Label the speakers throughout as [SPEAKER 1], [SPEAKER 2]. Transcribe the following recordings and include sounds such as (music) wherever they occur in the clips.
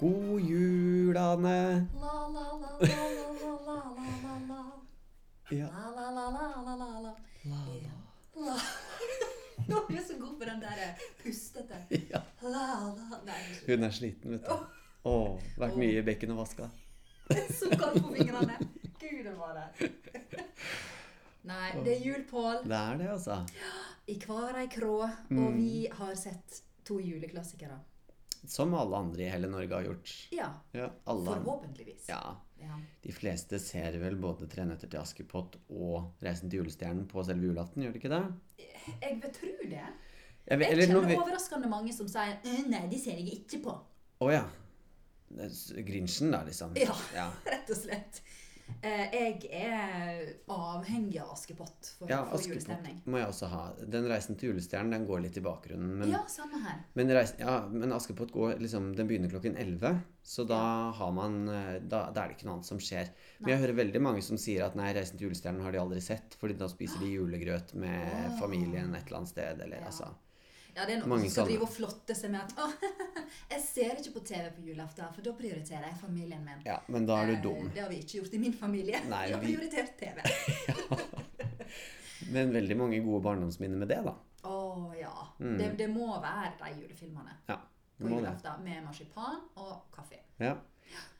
[SPEAKER 1] God jul, Ane.
[SPEAKER 2] La, la, la, la, la, la, la, la, la.
[SPEAKER 1] Ja.
[SPEAKER 2] La, la, la, la, la, la, la. La. (laughs) Nå er jeg så god på den der eh, pustete.
[SPEAKER 1] ja.
[SPEAKER 2] La, la. Nei, (laughs)
[SPEAKER 1] Hun er sliten, vet du. Å, vært mye i bekken og vaska.
[SPEAKER 2] så godt på fingrene. Gud, det var det. (laughs) Nei, det er jul, Pål.
[SPEAKER 1] Det er det, altså.
[SPEAKER 2] I hver ei krå.
[SPEAKER 1] Mm.
[SPEAKER 2] Og vi har sett to juleklassikere.
[SPEAKER 1] Som alle andre i hele Norge har gjort.
[SPEAKER 2] Ja.
[SPEAKER 1] Ja, alle har
[SPEAKER 2] Forhåpentligvis.
[SPEAKER 1] ja.
[SPEAKER 2] Ja.
[SPEAKER 1] De fleste ser vel både 'Tre nøtter til Askepott' og 'Reisen til julestjernen' på selve julaften, gjør de ikke det?
[SPEAKER 2] Jeg vil tro det.
[SPEAKER 1] Jeg vet,
[SPEAKER 2] Jeg
[SPEAKER 1] eller, nå,
[SPEAKER 2] kjenner
[SPEAKER 1] vet-
[SPEAKER 2] overraskende mange som sier «Øh, Nei, de ser jeg ikke på.
[SPEAKER 1] Å ja. Det er s- Grinchen, da, liksom.
[SPEAKER 2] Ja. (laughs)
[SPEAKER 1] ja.
[SPEAKER 2] Rett og slett. Eh, jeg er avhengig av Askepott for,
[SPEAKER 1] Ja,
[SPEAKER 2] for julestemning.
[SPEAKER 1] Askepott må jeg også ha. Den 'Reisen til julestjernen' den går litt i bakgrunnen. Men,
[SPEAKER 2] Ja, samme her.
[SPEAKER 1] men, reis- ja, men Askepott går liksom, den begynner klokken 11, så da, har man, eh, da, da er det ikke noe annet som skjer. Men jeg hører veldig mange som sier at nei, 'Reisen til julestjernen' har de aldri sett, fordi da spiser de julegrøt med familien et eller annet sted. Eller,
[SPEAKER 2] Ja.
[SPEAKER 1] altså.
[SPEAKER 2] Ja, det er noen
[SPEAKER 1] Mange
[SPEAKER 2] som skal
[SPEAKER 1] sånne.
[SPEAKER 2] drive og flotte seg med at «Åh, (laughs) jeg ser ikke på TV på julaften, for da prioriterer jeg familien min.
[SPEAKER 1] ja, men da er du
[SPEAKER 2] Eh,
[SPEAKER 1] dum.
[SPEAKER 2] Det har vi ikke gjort i min familie.
[SPEAKER 1] Nei,
[SPEAKER 2] vi har
[SPEAKER 1] vi-
[SPEAKER 2] prioritert TV.
[SPEAKER 1] Men veldig mange gode barndomsminner med det, da.
[SPEAKER 2] Å ja. Det, det må være de julefilmene
[SPEAKER 1] Ja, Mm.
[SPEAKER 2] på
[SPEAKER 1] det må det.
[SPEAKER 2] julaften med marsipan og kaffe.
[SPEAKER 1] Ja.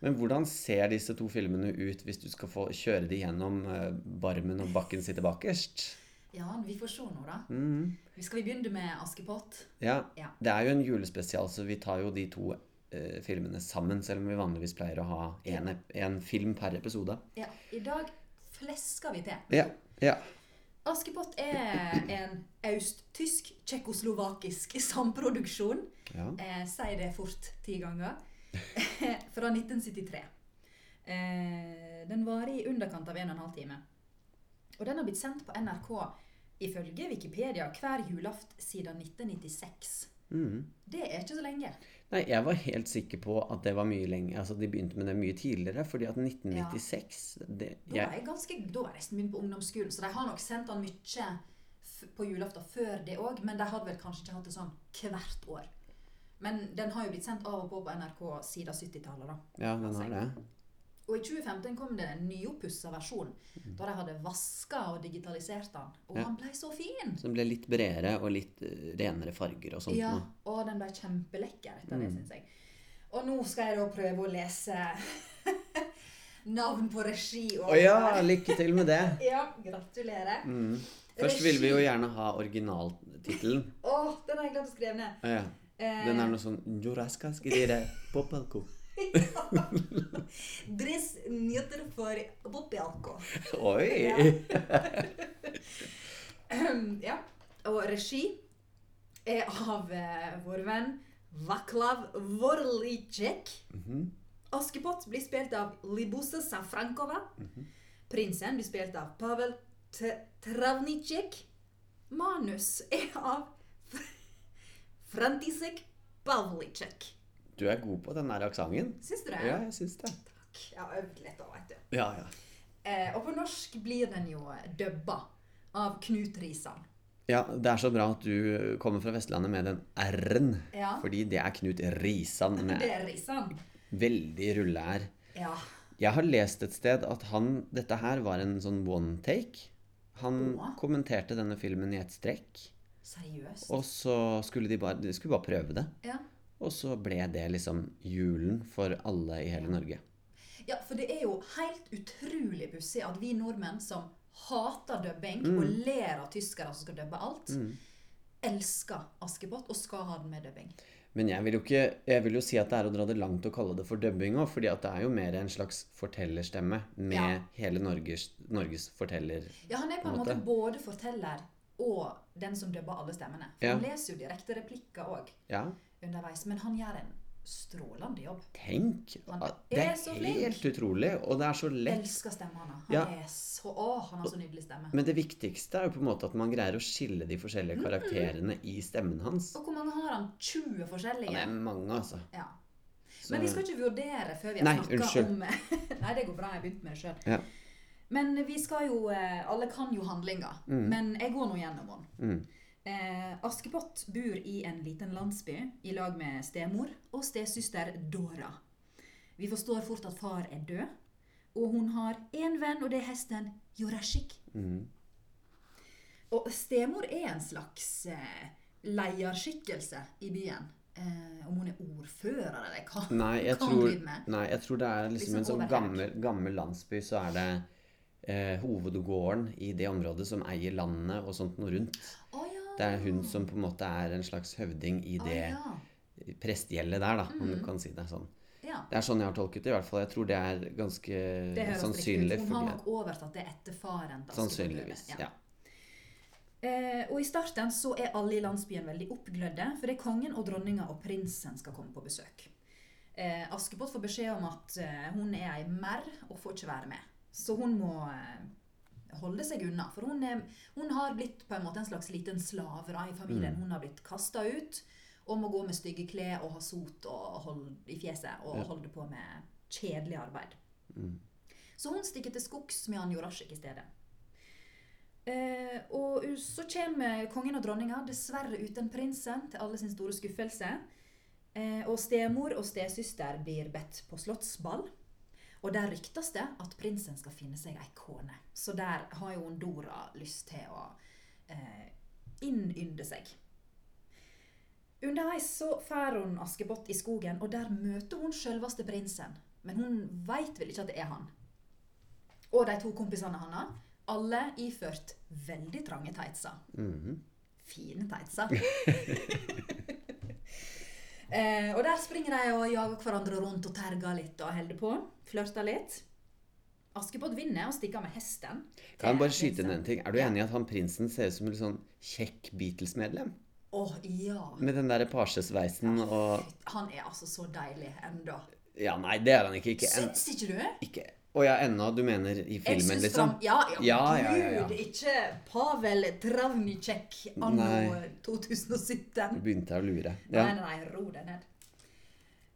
[SPEAKER 1] Men hvordan ser disse to filmene ut hvis du skal få kjøre de gjennom eh, barmen og bakken sitter bakerst?
[SPEAKER 2] Ja, vi får se nå, da.
[SPEAKER 1] Mhm.
[SPEAKER 2] Skal vi begynne med Askepott?
[SPEAKER 1] ja.
[SPEAKER 2] Ja.
[SPEAKER 1] Det er jo en julespesial, så vi tar jo de to eh, filmene sammen, selv om vi vanligvis pleier å ha en, ep- en film per episode.
[SPEAKER 2] Ja. I dag flesker vi til.
[SPEAKER 1] Ja. ja.
[SPEAKER 2] Askepott er en austtysk, tsjekkoslovakisk samproduksjon.
[SPEAKER 1] ja.
[SPEAKER 2] Eh, si det fort ti ganger. (laughs) Fra 1973. Eh, den varer i underkant av 1 12 time. Og den har blitt sendt på NRK ifølge Wikipedia hver julaft siden 1996.
[SPEAKER 1] Mhm.
[SPEAKER 2] Det er ikke så lenge.
[SPEAKER 1] Nei, jeg var helt sikker på at det var mye lenger. Altså, de begynte med det mye tidligere, fordi at 1996 det,
[SPEAKER 2] Da var
[SPEAKER 1] jeg,
[SPEAKER 2] jeg ganske, da var jeg nesten begynt på ungdomsskolen, så de har nok sendt den mye f- på julaften før det òg, men de hadde vel kanskje ikke hatt det sånn hvert år. Men den har jo blitt sendt av og på på NRK siden 70-tallet, da.
[SPEAKER 1] Ja, den har det.
[SPEAKER 2] Og i 2015 kom det en nyoppussa versjon, da de hadde vaska og digitalisert den. Og
[SPEAKER 1] Mm. Ja.
[SPEAKER 2] han blei så fin!
[SPEAKER 1] Så den ble litt bredere og litt eh, renere farger og sånt.
[SPEAKER 2] Ja,
[SPEAKER 1] nå.
[SPEAKER 2] og den ble kjempelekker etter
[SPEAKER 1] Mm.
[SPEAKER 2] det, syns jeg. Og nå skal jeg da prøve å lese (laughs) navn på regi. Og
[SPEAKER 1] Å ja, lykke til med det.
[SPEAKER 2] (laughs) ja, gratulerer.
[SPEAKER 1] Mm. Først vil vi jo gjerne ha originaltittelen.
[SPEAKER 2] Å, den har jeg glemt å skrive ned.
[SPEAKER 1] Ah, ja.
[SPEAKER 2] Eh,
[SPEAKER 1] Den er noe sånn «Juraska skidere popalko».
[SPEAKER 2] Dress nyheter for Bopialko.
[SPEAKER 1] Oi!
[SPEAKER 2] Ehm, ja. Og regi er av eh, vår venn Vaklav Vorlicek.
[SPEAKER 1] Mhm.
[SPEAKER 2] Askepott blir spilt av Libusa Safrankova.
[SPEAKER 1] Mhm.
[SPEAKER 2] Prinsen blir spilt av Pavel T- Travnicek. Manus er av Frantisek Pavlicek.
[SPEAKER 1] Du er god på den der aksenten.
[SPEAKER 2] Syns du det?
[SPEAKER 1] Ja, jeg syns det.
[SPEAKER 2] Jeg har øvd litt, da, vet du.
[SPEAKER 1] Ja, ja.
[SPEAKER 2] Eh, og på norsk blir den jo eh, dubba av Knut Risan.
[SPEAKER 1] Ja, Det er så bra at du kommer fra Vestlandet med den R-en.
[SPEAKER 2] Ja.
[SPEAKER 1] Fordi det er Knut Risan med
[SPEAKER 2] Det er Risan.
[SPEAKER 1] veldig rulle-r.
[SPEAKER 2] Ja.
[SPEAKER 1] Jeg har lest et sted at han Dette her var en sånn one take. Han
[SPEAKER 2] Å.
[SPEAKER 1] kommenterte denne filmen i ett strekk.
[SPEAKER 2] Seriøst?
[SPEAKER 1] Og så skulle de bare, de skulle bare prøve det.
[SPEAKER 2] Ja.
[SPEAKER 1] Og så ble det liksom julen for alle i hele Norge.
[SPEAKER 2] ja, for det er jo helt utrolig pussig at vi nordmenn som hater dubbing og ler av tyskere som skal dubbe alt, elsker Askepott og skal ha den med dubbing.
[SPEAKER 1] Men jeg vil, jo ikke, jeg vil jo si at det er å dra det langt å kalle det for dubbing òg, fordi at det er jo mer en slags fortellerstemme med
[SPEAKER 2] Ja.
[SPEAKER 1] hele Norges, Norges forteller...
[SPEAKER 2] Ja, han er på en måte både forteller og den som dubber alle stemmene. For
[SPEAKER 1] Ja.
[SPEAKER 2] Han leser jo direkte replikker òg
[SPEAKER 1] Ja,
[SPEAKER 2] underveis, men han gjør en strålende jobb.
[SPEAKER 1] tenk!
[SPEAKER 2] Han
[SPEAKER 1] at Det
[SPEAKER 2] er
[SPEAKER 1] er
[SPEAKER 2] så flink.
[SPEAKER 1] helt utrolig, og det er så lett.
[SPEAKER 2] Elsker stemmen hans. Han
[SPEAKER 1] Ja.
[SPEAKER 2] er så Å, han har så nydelig stemme.
[SPEAKER 1] Men det viktigste er jo på en måte at man greier å skille de forskjellige
[SPEAKER 2] Mm,
[SPEAKER 1] karakterene i stemmen hans.
[SPEAKER 2] Og hvor mange har han? 20
[SPEAKER 1] Det
[SPEAKER 2] forskjellige?
[SPEAKER 1] er mange, altså.
[SPEAKER 2] Ja.
[SPEAKER 1] Så,
[SPEAKER 2] Men vi skal ikke vurdere før vi
[SPEAKER 1] Nei,
[SPEAKER 2] har snakka
[SPEAKER 1] unnskyld.
[SPEAKER 2] om (laughs) Nei, det går bra. Jeg begynte med det sjøl.
[SPEAKER 1] Ja.
[SPEAKER 2] Men vi skal jo eh, Alle kan jo handlinga, men jeg går nå gjennom den.
[SPEAKER 1] Mm.
[SPEAKER 2] Eh, Askepott bor i en liten landsby i lag med stemor og stesøster Dora. Vi forstår fort at far er død. Og hun har én venn, og det er hesten Jurashik.
[SPEAKER 1] Mhm.
[SPEAKER 2] Og stemor er en slags eh, lederskikkelse i byen. Eh, om hun er ordfører eller hva,
[SPEAKER 1] Nei, jeg
[SPEAKER 2] hva hun
[SPEAKER 1] tror,
[SPEAKER 2] driver med.
[SPEAKER 1] nei, jeg tror det er liksom
[SPEAKER 2] Liksom
[SPEAKER 1] en sånn
[SPEAKER 2] overalt.
[SPEAKER 1] gammel, gammel landsby, så er det eh, hovedgården i det området som eier landet og sånt noe rundt.
[SPEAKER 2] Å ja.
[SPEAKER 1] Det er hun som på en måte er en slags høvding i
[SPEAKER 2] Å
[SPEAKER 1] det
[SPEAKER 2] ja.
[SPEAKER 1] prestegjeldet der, da, om du
[SPEAKER 2] Mhm.
[SPEAKER 1] kan si det sånn.
[SPEAKER 2] ja.
[SPEAKER 1] Det er sånn jeg har tolket det, i hvert fall. Jeg tror det er ganske
[SPEAKER 2] Det høres
[SPEAKER 1] sannsynlig.
[SPEAKER 2] riktig ut. Hun
[SPEAKER 1] Fordi,
[SPEAKER 2] har nok overtatt det etter faren. da, skulle
[SPEAKER 1] sannsynligvis,
[SPEAKER 2] hun gjøre.
[SPEAKER 1] ja.
[SPEAKER 2] Eh, og I starten så er alle i landsbyen veldig oppglødde, for det er kongen og dronninga og prinsen skal komme på besøk. Eh, Askepott får beskjed om at eh, hun er ei merr og får ikke være med. Så hun må eh, holde seg unna, for hun, er, hun har blitt på en måte en slags liten slave da, i familien.
[SPEAKER 1] Mm.
[SPEAKER 2] Hun har blitt kasta ut og må gå med stygge klær og ha sot og hold i fjeset og
[SPEAKER 1] Ja.
[SPEAKER 2] holde på med kjedelig arbeid.
[SPEAKER 1] Mm.
[SPEAKER 2] Så hun stikker til skogs med han Jorasjik i stedet. Eh, og u- så kommer kongen og dronninga, dessverre uten prinsen, til alle sin store skuffelse. Eh, og stemor og stesøster blir bedt på slottsball. Og der ryktes det at prinsen skal finne seg ei kone. Så der har jo hun Dora lyst til å eh, innynde seg. Underveis så fer hun Askepott i skogen, og der møter hun sjølveste prinsen. Men hun veit vel ikke at det er han. Og de to kompisene hans, alle iført veldig trange tightser.
[SPEAKER 1] Mhm.
[SPEAKER 2] Fine tightser. (laughs) eh, og der springer de og jager hverandre rundt og terger litt og holder på. Flørter litt. Askepott vinner og stikker med hesten.
[SPEAKER 1] Kan jeg bare
[SPEAKER 2] til
[SPEAKER 1] skyte inn en
[SPEAKER 2] prinsen.
[SPEAKER 1] ting? Er du
[SPEAKER 2] Ja.
[SPEAKER 1] enig i at han prinsen ser ut som en litt sånn kjekk Beatles-medlem?
[SPEAKER 2] Å ja.
[SPEAKER 1] Med den der pasjesveisen og
[SPEAKER 2] Han er altså så deilig ennå.
[SPEAKER 1] Ja, nei, det er han ikke. Ikke, en,
[SPEAKER 2] Syns ikke du?
[SPEAKER 1] ikke. Å ja, ennå. Du mener i
[SPEAKER 2] Jeg
[SPEAKER 1] filmen,
[SPEAKER 2] syns
[SPEAKER 1] liksom?
[SPEAKER 2] fram- Ja, ja,
[SPEAKER 1] Ja, ja, ja, ja.
[SPEAKER 2] gud, ikke Pavel Travnicek anno
[SPEAKER 1] Nei.
[SPEAKER 2] 2017.
[SPEAKER 1] Du begynte jeg å lure. Ja.
[SPEAKER 2] Nei, nei, nei, ro deg ned.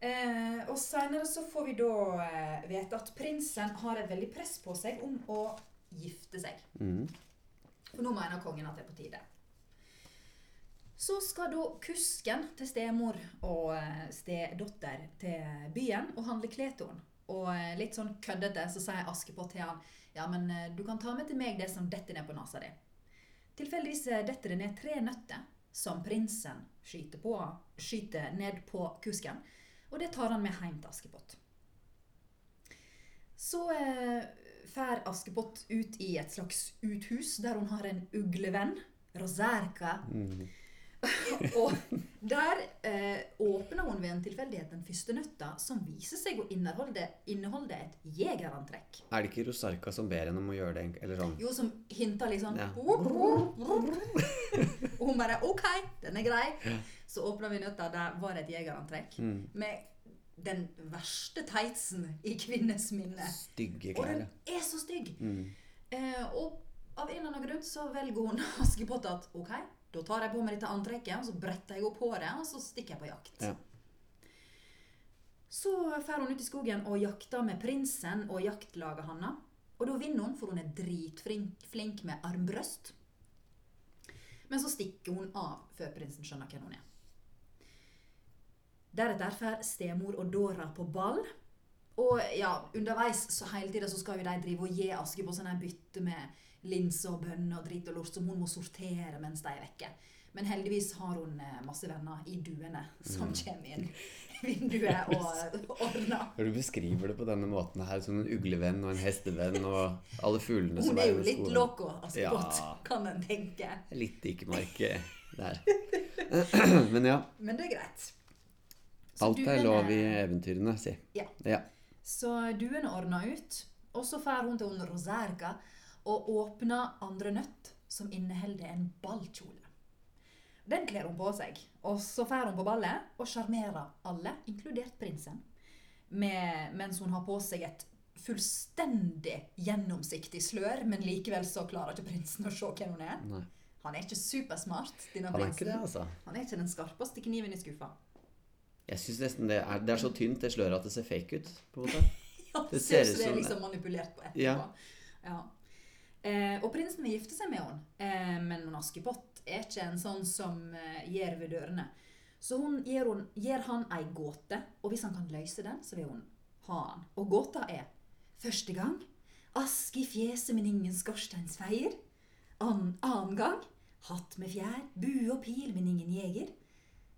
[SPEAKER 2] Eh, og senere så får vi da eh, vite at prinsen har et veldig press på seg om å gifte seg.
[SPEAKER 1] Mhm.
[SPEAKER 2] For nå mener kongen at det er på tide. Så skal da kusken til stemor og eh, stedotter til byen og handle klær til henne. Og eh, litt sånn køddete så sier Askepott til han ja, men eh, du kan ta med til meg det som detter ned på nesa di. Tilfeldigvis eh, detter det ned tre nøtter som prinsen skyter, på, skyter ned på kusken. Og det tar han med hjem til Askepott. Så eh, fær Askepott ut i et slags uthus der hun har en uglevenn, Roserka.
[SPEAKER 1] Mhm.
[SPEAKER 2] (laughs) Og der eh, åpner hun ved en tilfeldighet den første nøtta, som viser seg å inneholde, inneholde et jegerantrekk.
[SPEAKER 1] Er det ikke Rosarka som ber henne om å gjøre det, egentlig? eller sånn?
[SPEAKER 2] Jo, som hinter litt sånn (laughs)
[SPEAKER 1] Ja.
[SPEAKER 2] Og hun bare OK, den er grei. Så åpner vi nøtta, der var det et jegerantrekk.
[SPEAKER 1] Mm.
[SPEAKER 2] Med den verste tightsen i kvinnes minne.
[SPEAKER 1] Stygge
[SPEAKER 2] Og
[SPEAKER 1] klær,
[SPEAKER 2] den
[SPEAKER 1] ja.
[SPEAKER 2] er så stygg.
[SPEAKER 1] Mm.
[SPEAKER 2] Eh, og av en eller annen grunn så velger hun (laughs) Askepott at ok, da tar jeg på meg dette antrekket, og så bretter jeg opp håret, og så stikker jeg på jakt.
[SPEAKER 1] Ja.
[SPEAKER 2] Så drar hun ut i skogen og jakter med prinsen og jaktlaget hans. Og da vinner hun, for hun er dritflink flink med armbrøst. Men så stikker hun av før prinsen skjønner hvem hun er. Deretter drar stemor og Dora på ball. Og ja, underveis så hele tiden så skal jo de drive og gi Askepott sånn her bytte med linser og bønner og drit og lort som hun må sortere mens de er vekke. Men heldigvis har hun eh, masse venner i duene som
[SPEAKER 1] Mm.
[SPEAKER 2] kommer inn i
[SPEAKER 1] (laughs)
[SPEAKER 2] vinduet og ordner.
[SPEAKER 1] Når du beskriver det på denne måten her, som en uglevenn og en hestevenn og alle fuglene som
[SPEAKER 2] Hun
[SPEAKER 1] i
[SPEAKER 2] er jo litt
[SPEAKER 1] skogen.
[SPEAKER 2] loco, Askepott,
[SPEAKER 1] Ja.
[SPEAKER 2] (laughs) kan en tenke.
[SPEAKER 1] Litt dikemarke
[SPEAKER 2] (laughs)
[SPEAKER 1] der. Men ja,
[SPEAKER 2] Men det er greit. Så
[SPEAKER 1] alt er lov i
[SPEAKER 2] duene-
[SPEAKER 1] eventyrene, si.
[SPEAKER 2] Ja.
[SPEAKER 1] Ja.
[SPEAKER 2] Så duene ordner ut, og så drar hun til hun Roserka og åpner andre nøtt som inneholder en ballkjole. Den kler hun på seg, og så drar hun på ballet og sjarmerer alle, inkludert prinsen, med, mens hun har på seg et fullstendig gjennomsiktig slør, men likevel så klarer ikke prinsen å se hvem hun er.
[SPEAKER 1] Nei.
[SPEAKER 2] Han er ikke supersmart, denne
[SPEAKER 1] Han er ikke
[SPEAKER 2] prinsen.
[SPEAKER 1] det, altså.
[SPEAKER 2] Han er ikke den skarpeste kniven i skuffa.
[SPEAKER 1] Jeg syns nesten det er, det er så tynt det sløret at det ser fake ut. på en måte.
[SPEAKER 2] Ja,
[SPEAKER 1] Det
[SPEAKER 2] det
[SPEAKER 1] ser
[SPEAKER 2] ser
[SPEAKER 1] ut
[SPEAKER 2] ut som det
[SPEAKER 1] som
[SPEAKER 2] er
[SPEAKER 1] det.
[SPEAKER 2] liksom manipulert på etterpå.
[SPEAKER 1] Ja.
[SPEAKER 2] Ja. Eh, og prinsen vil gifte seg med henne, eh, men hun Askepott er ikke en sånn som eh, gjør ved dørene. Så hun gir, hun, gir han ei gåte, og hvis han kan løse den, så vil hun han. Og gåta er Første gang ask i fjeset, men ingen skorsteinsfeier. An, annen gang hatt med fjær, bue og pil, men ingen jeger.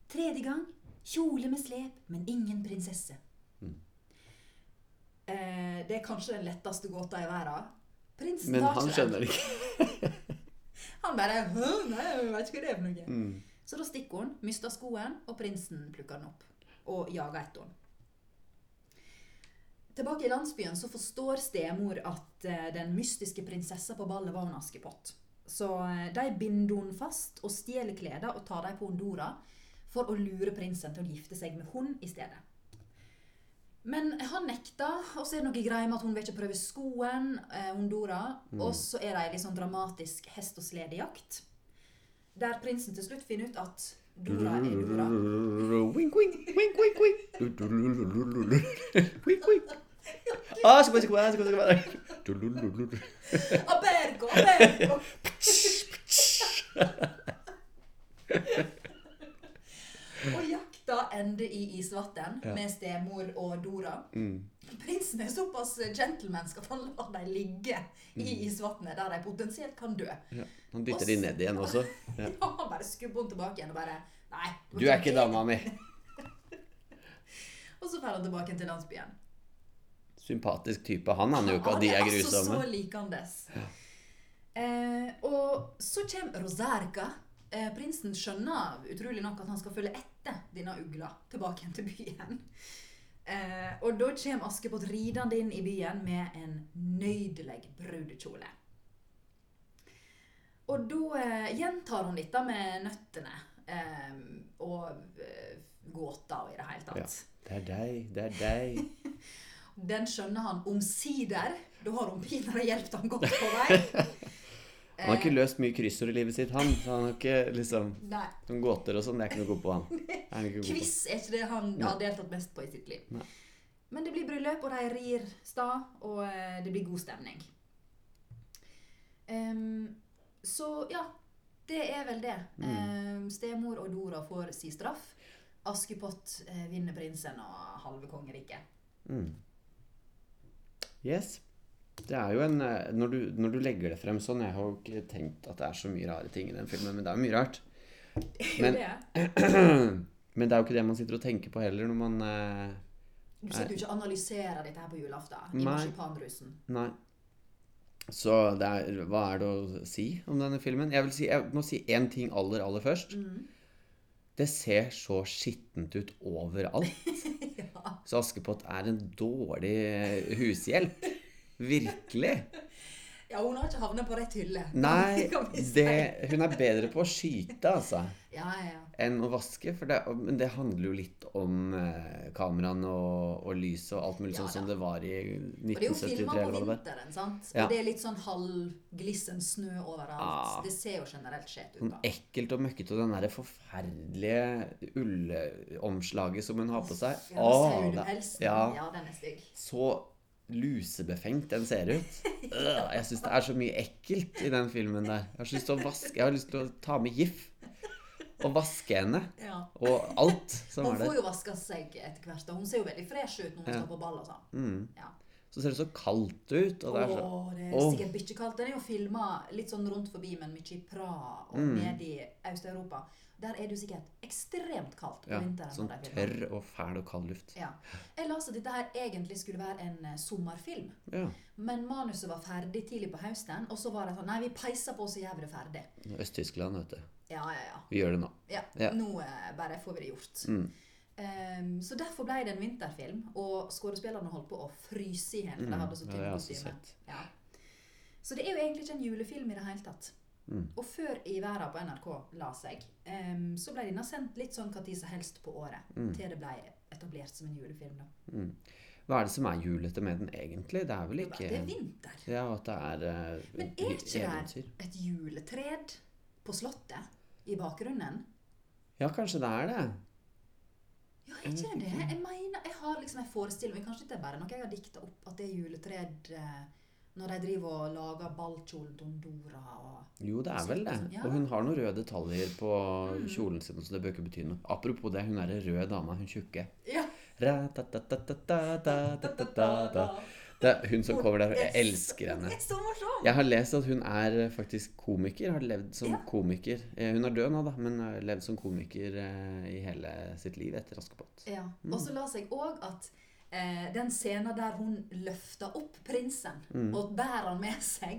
[SPEAKER 2] Tredje gang kjole med slep, men ingen prinsesse.
[SPEAKER 1] Mm.
[SPEAKER 2] Eh, det er kanskje den letteste gåta i verden. Prinsen
[SPEAKER 1] Men
[SPEAKER 2] tar
[SPEAKER 1] han
[SPEAKER 2] ikke den.
[SPEAKER 1] skjønner det ikke.
[SPEAKER 2] Han bare «Hæ? Nei, jeg vet ikke hva det er for noe.
[SPEAKER 1] Mm.
[SPEAKER 2] Så da stikker hun, mister skoen, og prinsen plukker den opp og jager etter henne. Tilbake i landsbyen så forstår stemor at eh, den mystiske prinsessa på ballet var en askepott. Så eh, de binder henne fast og stjeler klærne og tar dem på Hondora for å lure prinsen til å gifte seg med henne i stedet. Men han nekta, og så er det noe greier med at hun vil ikke prøve skoen, eh, Hondora. Og så er det ei litt sånn dramatisk hest- og sledejakt. Der prinsen til slutt finner ut at Dora er
[SPEAKER 1] Mm.
[SPEAKER 2] Dora.
[SPEAKER 1] Wink, wink, wink, wink, wink. Dulululululul. Wink, wink. Ah, så går jeg, så går jeg, så går jeg, så går jeg. Dulululul.
[SPEAKER 2] (laughs) Abergo,
[SPEAKER 1] (laughs)
[SPEAKER 2] abergo. og jakta ender i isvann
[SPEAKER 1] Ja.
[SPEAKER 2] med stemor og Dora.
[SPEAKER 1] Mm.
[SPEAKER 2] Prinsen er såpass gentlemansk at han lar dem ligge i
[SPEAKER 1] Mm.
[SPEAKER 2] isvannet, der de potensielt kan dø.
[SPEAKER 1] Ja. Han dytter de ned igjen også. Ja.
[SPEAKER 2] (laughs) Han bare skubber henne tilbake igjen og bare Nei.
[SPEAKER 1] Du er ikke dama mi.
[SPEAKER 2] Og så drar han tilbake til landsbyen.
[SPEAKER 1] Sympatisk type. Han aner jo ikke at de er
[SPEAKER 2] Han
[SPEAKER 1] grusomme.
[SPEAKER 2] altså så likandes. Eh, og så kommer Rozerka. Eh, prinsen skjønner utrolig nok at han skal følge etter denne ugla tilbake igjen til byen. Eh, og da kommer Askepott ridende inn i byen med en nydelig brudekjole. Og da eh, gjentar hun dette med nøttene eh, og eh, gåta og i det hele tatt.
[SPEAKER 1] Ja. Det er deg, det er deg.
[SPEAKER 2] Den skjønner han omsider. Da har hun pinadø hjulpet han godt på
[SPEAKER 1] (laughs)
[SPEAKER 2] vei.
[SPEAKER 1] Han
[SPEAKER 2] Eh.
[SPEAKER 1] har ikke løst mye kryssord i livet sitt, han. Så han har ikke liksom
[SPEAKER 2] Nei.
[SPEAKER 1] Noen gåter og sånn, det er ikke noe god på han.
[SPEAKER 2] (laughs)
[SPEAKER 1] Det er han ikke god på.
[SPEAKER 2] Quiz er ikke det han har deltatt mest på i sitt liv.
[SPEAKER 1] Nei.
[SPEAKER 2] Men det blir bryllup, og de rir stad, og eh, det blir god stemning. Ehm, så ja, det er vel det.
[SPEAKER 1] Mm.
[SPEAKER 2] Ehm, stemor og Dora får si straff. Askepott eh, vinner prinsen og halve kongeriket.
[SPEAKER 1] Mm. Yes. Det er jo en eh, når du, når du legger det frem sånn Jeg har jo ikke tenkt at det er så mye rare ting i den filmen, men det er jo mye rart. (clears throat) Men-
[SPEAKER 2] det,
[SPEAKER 1] Men det er jo ikke det man sitter og tenker på heller når man eh,
[SPEAKER 2] du sitter jo ikke og analyserer dette her på julaften i
[SPEAKER 1] Nei.
[SPEAKER 2] marsipanrusen.
[SPEAKER 1] Nei. Så det er, hva er det å si om denne filmen? Jeg, vil si, jeg må si én ting aller, aller først.
[SPEAKER 2] Mm.
[SPEAKER 1] Det ser så skittent ut overalt.
[SPEAKER 2] (laughs) Ja.
[SPEAKER 1] Så Askepott er en dårlig hushjelp. Virkelig.
[SPEAKER 2] Ja, hun har ikke havnet på rett hylle. (laughs)
[SPEAKER 1] Nei,
[SPEAKER 2] Kan vi si.
[SPEAKER 1] det, hun er bedre på å skyte, altså,
[SPEAKER 2] Ja, ja, ja.
[SPEAKER 1] enn å vaske. For det, men det handler jo litt om eh, kameraene og, og lyset og alt mulig
[SPEAKER 2] Ja
[SPEAKER 1] sånn som
[SPEAKER 2] da.
[SPEAKER 1] det var i
[SPEAKER 2] Og det er jo
[SPEAKER 1] 1973
[SPEAKER 2] filma
[SPEAKER 1] eller
[SPEAKER 2] på
[SPEAKER 1] hva det var.
[SPEAKER 2] vinteren, sant?
[SPEAKER 1] Ja. Ah.
[SPEAKER 2] Og det er litt sånn halvglissen snø overalt.
[SPEAKER 1] Ja.
[SPEAKER 2] Det ser jo generelt skjevt ut,
[SPEAKER 1] Sånn
[SPEAKER 2] da.
[SPEAKER 1] ekkelt og møkkete, og den der forferdelige ullomslaget som hun har på seg.
[SPEAKER 2] Ja,
[SPEAKER 1] Åh, det,
[SPEAKER 2] sauepelsen.
[SPEAKER 1] ja,
[SPEAKER 2] ja, den er stygg.
[SPEAKER 1] så lusebefengt den ser ut. Øh, Jeg syns det er så mye ekkelt i den filmen der. Jeg har så lyst til å vaske Jeg har lyst til å ta med gif og vaske henne.
[SPEAKER 2] Ja.
[SPEAKER 1] Og alt som
[SPEAKER 2] Hun
[SPEAKER 1] Sånn er
[SPEAKER 2] får
[SPEAKER 1] der.
[SPEAKER 2] jo vaska seg etter hvert, og hun ser jo veldig fresh ut når hun
[SPEAKER 1] Ja.
[SPEAKER 2] står på ball og sånn.
[SPEAKER 1] Mm.
[SPEAKER 2] Ja.
[SPEAKER 1] Så ser det så kaldt ut. Og det er så
[SPEAKER 2] Åh, det er
[SPEAKER 1] Åh.
[SPEAKER 2] sikkert bikkjekaldt. Den er jo filma litt sånn rundt forbi, men mye i Praha og
[SPEAKER 1] Mm.
[SPEAKER 2] ned i Øst-Europa. Der er det jo sikkert ekstremt kaldt på
[SPEAKER 1] ja,
[SPEAKER 2] vinteren.
[SPEAKER 1] sånn
[SPEAKER 2] når de filmer.
[SPEAKER 1] tørr og fæl og kald luft.
[SPEAKER 2] Ja. Jeg leste at dette her egentlig skulle være en eh, sommerfilm,
[SPEAKER 1] Ja.
[SPEAKER 2] men manuset var ferdig tidlig på høsten, og så var det sånn Nei, vi peiser på så jævlig ferdig.
[SPEAKER 1] Øst-Tyskland, vet du.
[SPEAKER 2] Ja, ja, ja.
[SPEAKER 1] Vi gjør det nå.
[SPEAKER 2] ja.
[SPEAKER 1] Ja.
[SPEAKER 2] Nå eh, bare får vi det gjort.
[SPEAKER 1] Mm.
[SPEAKER 2] Ehm, så derfor ble det en vinterfilm, og skuespillerne holdt på å fryse i hjel. for
[SPEAKER 1] Mm.
[SPEAKER 2] de hadde så
[SPEAKER 1] Ja, det
[SPEAKER 2] tynne
[SPEAKER 1] har jeg også
[SPEAKER 2] kostymer.
[SPEAKER 1] sett.
[SPEAKER 2] Ja. Så det er jo egentlig ikke en julefilm i det hele tatt.
[SPEAKER 1] Mm.
[SPEAKER 2] Og før I verden på NRK la seg, ehm, så ble denne sendt litt sånn når som helst på året. Til det ble etablert som en julefilm. Da.
[SPEAKER 1] Mm. Hva er det som er julete med den egentlig? Det er vel ikke
[SPEAKER 2] Det er vinter.
[SPEAKER 1] Ja, og at det er eh,
[SPEAKER 2] Men er ikke det
[SPEAKER 1] eventyr.
[SPEAKER 2] et juletred på Slottet i bakgrunnen?
[SPEAKER 1] Ja, kanskje det er det.
[SPEAKER 2] Ja, er ikke det? det? Jeg mener, jeg har liksom en forestilling, men kanskje det er bare noe jeg har dikta opp, at det er juletred eh, når de driver og lager ballkjolen til Dondora og
[SPEAKER 1] Jo, det er vel det.
[SPEAKER 2] Sånn, Ja. Mm.
[SPEAKER 1] Og hun har noen røde detaljer på kjolen sin, så det bør ikke bety noe. Apropos det, hun er ei rød dame, hun tjukke.
[SPEAKER 2] Ja,
[SPEAKER 1] Ra-ta-ta-ta-ta-ta-ta-ta-ta-ta. Det er hun som kommer der. og Jeg elsker henne.
[SPEAKER 2] Det er så morsomt!
[SPEAKER 1] Jeg har lest at hun er eh, faktisk komiker. Har levd som
[SPEAKER 2] Ja.
[SPEAKER 1] komiker. Eh, Hun er død nå, da, men har levd som komiker eh, i hele sitt liv etter Askepott.
[SPEAKER 2] Ja. Og så las jeg òg at eh, den scenen der hun løfta opp prinsen
[SPEAKER 1] Mm.
[SPEAKER 2] og bærer han med seg,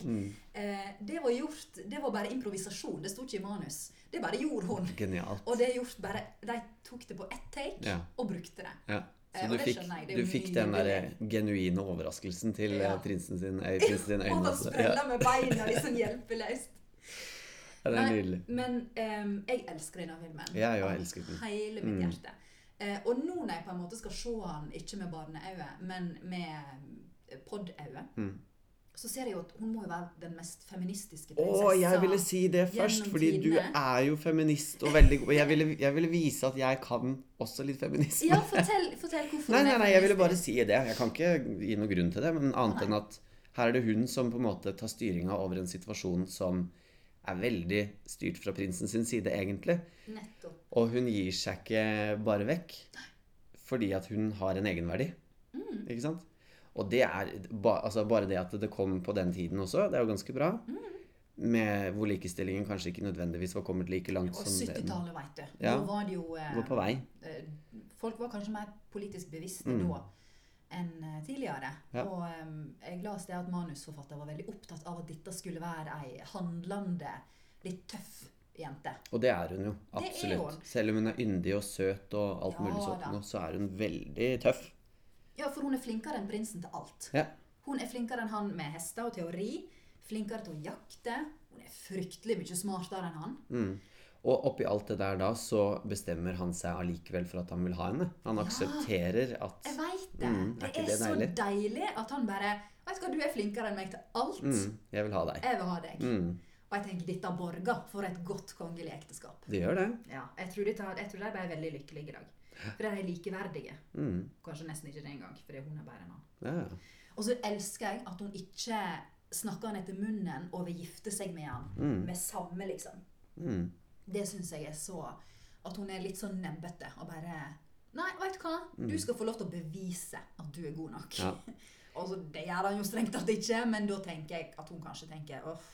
[SPEAKER 2] eh, det var gjort Det var bare improvisasjon. Det sto ikke i manus. Det bare gjorde hun.
[SPEAKER 1] Genialt.
[SPEAKER 2] Og det er gjort bare De tok det på ett take
[SPEAKER 1] Ja.
[SPEAKER 2] og brukte det.
[SPEAKER 1] Ja.
[SPEAKER 2] Eh,
[SPEAKER 1] Så
[SPEAKER 2] og
[SPEAKER 1] du
[SPEAKER 2] det
[SPEAKER 1] fikk,
[SPEAKER 2] skjønner jeg, det er
[SPEAKER 1] du
[SPEAKER 2] jo
[SPEAKER 1] fikk
[SPEAKER 2] mye
[SPEAKER 1] den der eh,
[SPEAKER 2] bedre.
[SPEAKER 1] genuine overraskelsen til eh,
[SPEAKER 2] Ja.
[SPEAKER 1] prinsen sin, eh,
[SPEAKER 2] Og
[SPEAKER 1] prinsen sin øyne.
[SPEAKER 2] han
[SPEAKER 1] også. Ja,
[SPEAKER 2] sprella med beina liksom hjelpeløst.
[SPEAKER 1] Ja, (laughs) det er
[SPEAKER 2] Nei,
[SPEAKER 1] nydelig.
[SPEAKER 2] Men ehm, jeg elsker denne filmen.
[SPEAKER 1] Ja, jeg
[SPEAKER 2] Av
[SPEAKER 1] elsker den. Mm.
[SPEAKER 2] Hele mitt hjerte. Eh, og nå når jeg på en måte skal se han ikke med barneøyne, men med pod-øyne,
[SPEAKER 1] Mm.
[SPEAKER 2] så ser jeg jo at hun må jo være den mest feministiske
[SPEAKER 1] Å,
[SPEAKER 2] prinsessa.
[SPEAKER 1] jeg ville si det først,
[SPEAKER 2] Liksom, gjennom
[SPEAKER 1] fordi du
[SPEAKER 2] tidene.
[SPEAKER 1] er jo feminist og veldig god. Og jeg ville, jeg ville vise at jeg kan også litt feminisme.
[SPEAKER 2] Ja, fortell, fortell hvorfor
[SPEAKER 1] Nei,
[SPEAKER 2] hun
[SPEAKER 1] nei,
[SPEAKER 2] er
[SPEAKER 1] nei, jeg ville bare
[SPEAKER 2] feministisk.
[SPEAKER 1] si det. Jeg kan ikke gi noen grunn til det, men annet
[SPEAKER 2] Nei.
[SPEAKER 1] enn at her er det hun som på en måte tar styringa over en situasjon som er veldig styrt fra prinsen sin side, egentlig.
[SPEAKER 2] Nettopp.
[SPEAKER 1] Og hun gir seg ikke bare vekk fordi at hun har en egenverdi.
[SPEAKER 2] Mm.
[SPEAKER 1] Ikke sant? Og det er ba, altså bare det at det kom på den tiden også, det er jo ganske bra.
[SPEAKER 2] Mm.
[SPEAKER 1] Med hvor likestillingen kanskje ikke nødvendigvis var kommet like langt
[SPEAKER 2] Og
[SPEAKER 1] som den
[SPEAKER 2] 70-tallet, veit du.
[SPEAKER 1] Ja.
[SPEAKER 2] Nå var det jo eh,
[SPEAKER 1] var på vei.
[SPEAKER 2] eh, Folk var kanskje mer politisk bevisste da enn eh, tidligere.
[SPEAKER 1] Mm. Ja.
[SPEAKER 2] Og eh, jeg las det at manusforfatter var veldig opptatt av at dette skulle være ei handlende, litt tøff jente.
[SPEAKER 1] Og det er hun jo.
[SPEAKER 2] er
[SPEAKER 1] Absolutt.
[SPEAKER 2] hun.
[SPEAKER 1] Selv om hun er yndig og søt og alt
[SPEAKER 2] Ja
[SPEAKER 1] mulig sånt,
[SPEAKER 2] da.
[SPEAKER 1] nå, så er hun veldig tøff.
[SPEAKER 2] Ja, for hun er flinkere enn prinsen til alt.
[SPEAKER 1] Ja.
[SPEAKER 2] Hun er flinkere enn han med hester og teori. Flinkere til å jakte. Hun er fryktelig mye smartere enn han.
[SPEAKER 1] Mm. Og oppi alt det der da, så bestemmer han seg allikevel for at han vil ha henne. Han aksepterer at
[SPEAKER 2] Jeg veit det.
[SPEAKER 1] Mm, er
[SPEAKER 2] det
[SPEAKER 1] ikke
[SPEAKER 2] er
[SPEAKER 1] det
[SPEAKER 2] så
[SPEAKER 1] deilig?
[SPEAKER 2] deilig at han bare Vet du hva, du er flinkere enn meg til alt.
[SPEAKER 1] mm, jeg vil ha deg.
[SPEAKER 2] Jeg vil ha deg.
[SPEAKER 1] Mm,
[SPEAKER 2] Og jeg tenker dette borger for et godt kongelig ekteskap.
[SPEAKER 1] det gjør det.
[SPEAKER 2] Ja, jeg tror, dette, jeg tror de ble veldig lykkelige i dag. For de er likeverdige.
[SPEAKER 1] Mm,
[SPEAKER 2] Kanskje nesten ikke det engang, fordi hun er bedre enn han.
[SPEAKER 1] ja. ja.
[SPEAKER 2] Og så elsker jeg at hun ikke snakker han etter munnen og vil gifte seg med han. Med samme, liksom.
[SPEAKER 1] Mm.
[SPEAKER 2] Det syns jeg er så At hun er litt sånn nebbete og bare Nei, veit du hva? Du skal få lov til å bevise at du er god nok. (laughs)
[SPEAKER 1] Ja.
[SPEAKER 2] Altså, det gjør han jo strengt tatt ikke, men da tenker jeg at hun kanskje tenker Uff,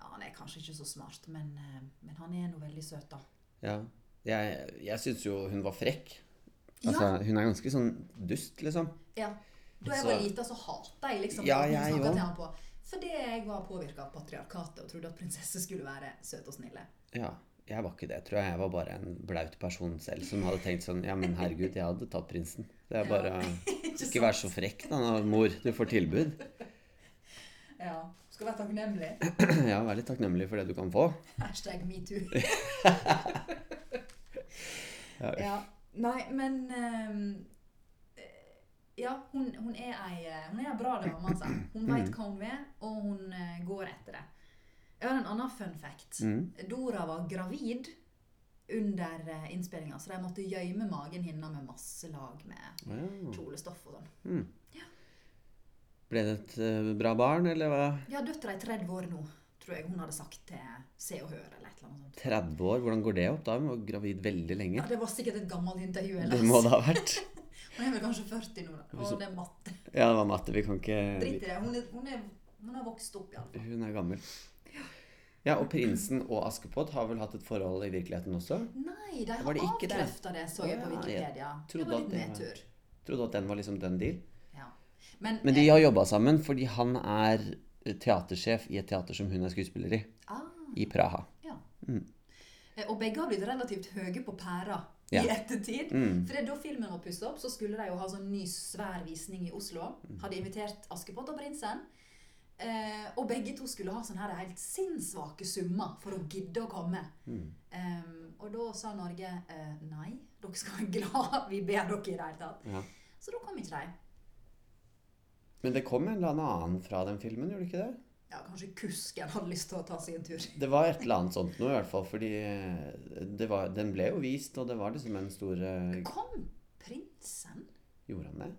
[SPEAKER 2] ja, han er kanskje ikke så smart, men, eh, men han er nå veldig søt, da.
[SPEAKER 1] Ja. Jeg, jeg syns jo hun var frekk.
[SPEAKER 2] Ja.
[SPEAKER 1] Altså, Hun er ganske sånn dust, liksom.
[SPEAKER 2] Ja. Da jeg
[SPEAKER 1] Så-
[SPEAKER 2] var lita, så hata jeg liksom
[SPEAKER 1] Ja,
[SPEAKER 2] at hun
[SPEAKER 1] jeg
[SPEAKER 2] snakket
[SPEAKER 1] òg.
[SPEAKER 2] til han på. Fordi jeg var påvirka av patriarkatet og trodde at prinsesser skulle være søte og snille. (laughs)
[SPEAKER 1] Ja. Jeg var ikke det, tror jeg. Jeg var bare en blaut person selv som hadde tenkt sånn Ja, men herregud, jeg hadde tatt prinsen. Det er bare
[SPEAKER 2] (laughs) Ikke
[SPEAKER 1] Ikke vær så frekk da, nå, mor. Du får tilbud. (clears throat)
[SPEAKER 2] Ja. Skal være takknemlig.
[SPEAKER 1] Ja, vær litt takknemlig for det du kan få.
[SPEAKER 2] Hashtag metoo.
[SPEAKER 1] (laughs) Ja,
[SPEAKER 2] ja. Nei, men ehm, eh, Ja, hun, hun er ei eh, Hun er ei bra dame, altså. Hun
[SPEAKER 1] Mm.
[SPEAKER 2] veit hva hun vil, og hun eh, går etter det. Jeg har en annen fun fact.
[SPEAKER 1] Mm.
[SPEAKER 2] Dora var gravid under uh, innspillinga, så de måtte gjøyme magen hennes med masse lag med
[SPEAKER 1] Å, ja.
[SPEAKER 2] kjolestoff og sånn.
[SPEAKER 1] Ble det et eh, bra barn, eller hva?
[SPEAKER 2] Ja, døtra er 30 år nå, tror jeg hun hadde sagt til Se og Hør eller et eller annet sånt.
[SPEAKER 1] 30 år, hvordan går det opp da? Hun var gravid veldig
[SPEAKER 2] Ja,
[SPEAKER 1] lenge.
[SPEAKER 2] det var sikkert et gammelt intervju.
[SPEAKER 1] Det
[SPEAKER 2] Ellers.
[SPEAKER 1] må det ha vært.
[SPEAKER 2] Hun er vel kanskje 40 nå, da. Og det er matte.
[SPEAKER 1] Ja, det var matte. Vi kan
[SPEAKER 2] Drit i
[SPEAKER 1] ikke
[SPEAKER 2] det. Hun, er, hun, er, hun har vokst opp, iallfall.
[SPEAKER 1] Hun er gammel. Ja, og prinsen og Askepott har vel hatt et forhold i virkeligheten også?
[SPEAKER 2] Nei, de har
[SPEAKER 1] Var det ikke det?
[SPEAKER 2] avkrefta det, så jeg på
[SPEAKER 1] Å, ja, jeg
[SPEAKER 2] Wikipedia. Det
[SPEAKER 1] trodde
[SPEAKER 2] var
[SPEAKER 1] at
[SPEAKER 2] litt
[SPEAKER 1] det var-
[SPEAKER 2] nedtur.
[SPEAKER 1] Trodde at den var liksom done deal.
[SPEAKER 2] Ja. Men,
[SPEAKER 1] Men de har jobba sammen fordi han er teatersjef i et teater som hun er skuespiller i,
[SPEAKER 2] eh, ah,
[SPEAKER 1] i Praha.
[SPEAKER 2] ja.
[SPEAKER 1] Mm.
[SPEAKER 2] Eh, Og begge har blitt relativt høye på pæra
[SPEAKER 1] Ja. Mm.
[SPEAKER 2] i ettertid. For det er da filmen var pussa opp, så skulle de jo ha sånn ny svær visning i Oslo. Hadde invitert Askepott og prinsen. Eh, og begge to skulle ha sånne her helt sinnssvake summer for å gidde å komme.
[SPEAKER 1] Mm.
[SPEAKER 2] Ehm, og da sa Norge eh, nei, dere skal være glad vi ber dere i det hele tatt.
[SPEAKER 1] Ja.
[SPEAKER 2] Så da kom ikke de.
[SPEAKER 1] Men det kom en eller annen fra den filmen, gjorde det ikke det?
[SPEAKER 2] Ja, kanskje kusken hadde lyst til å ta seg en tur.
[SPEAKER 1] Det var et eller annet sånt noe, i hvert fall. Fordi eh, det var, den ble jo vist, og det var liksom en stor eh,
[SPEAKER 2] Kom prinsen?
[SPEAKER 1] Gjorde han det?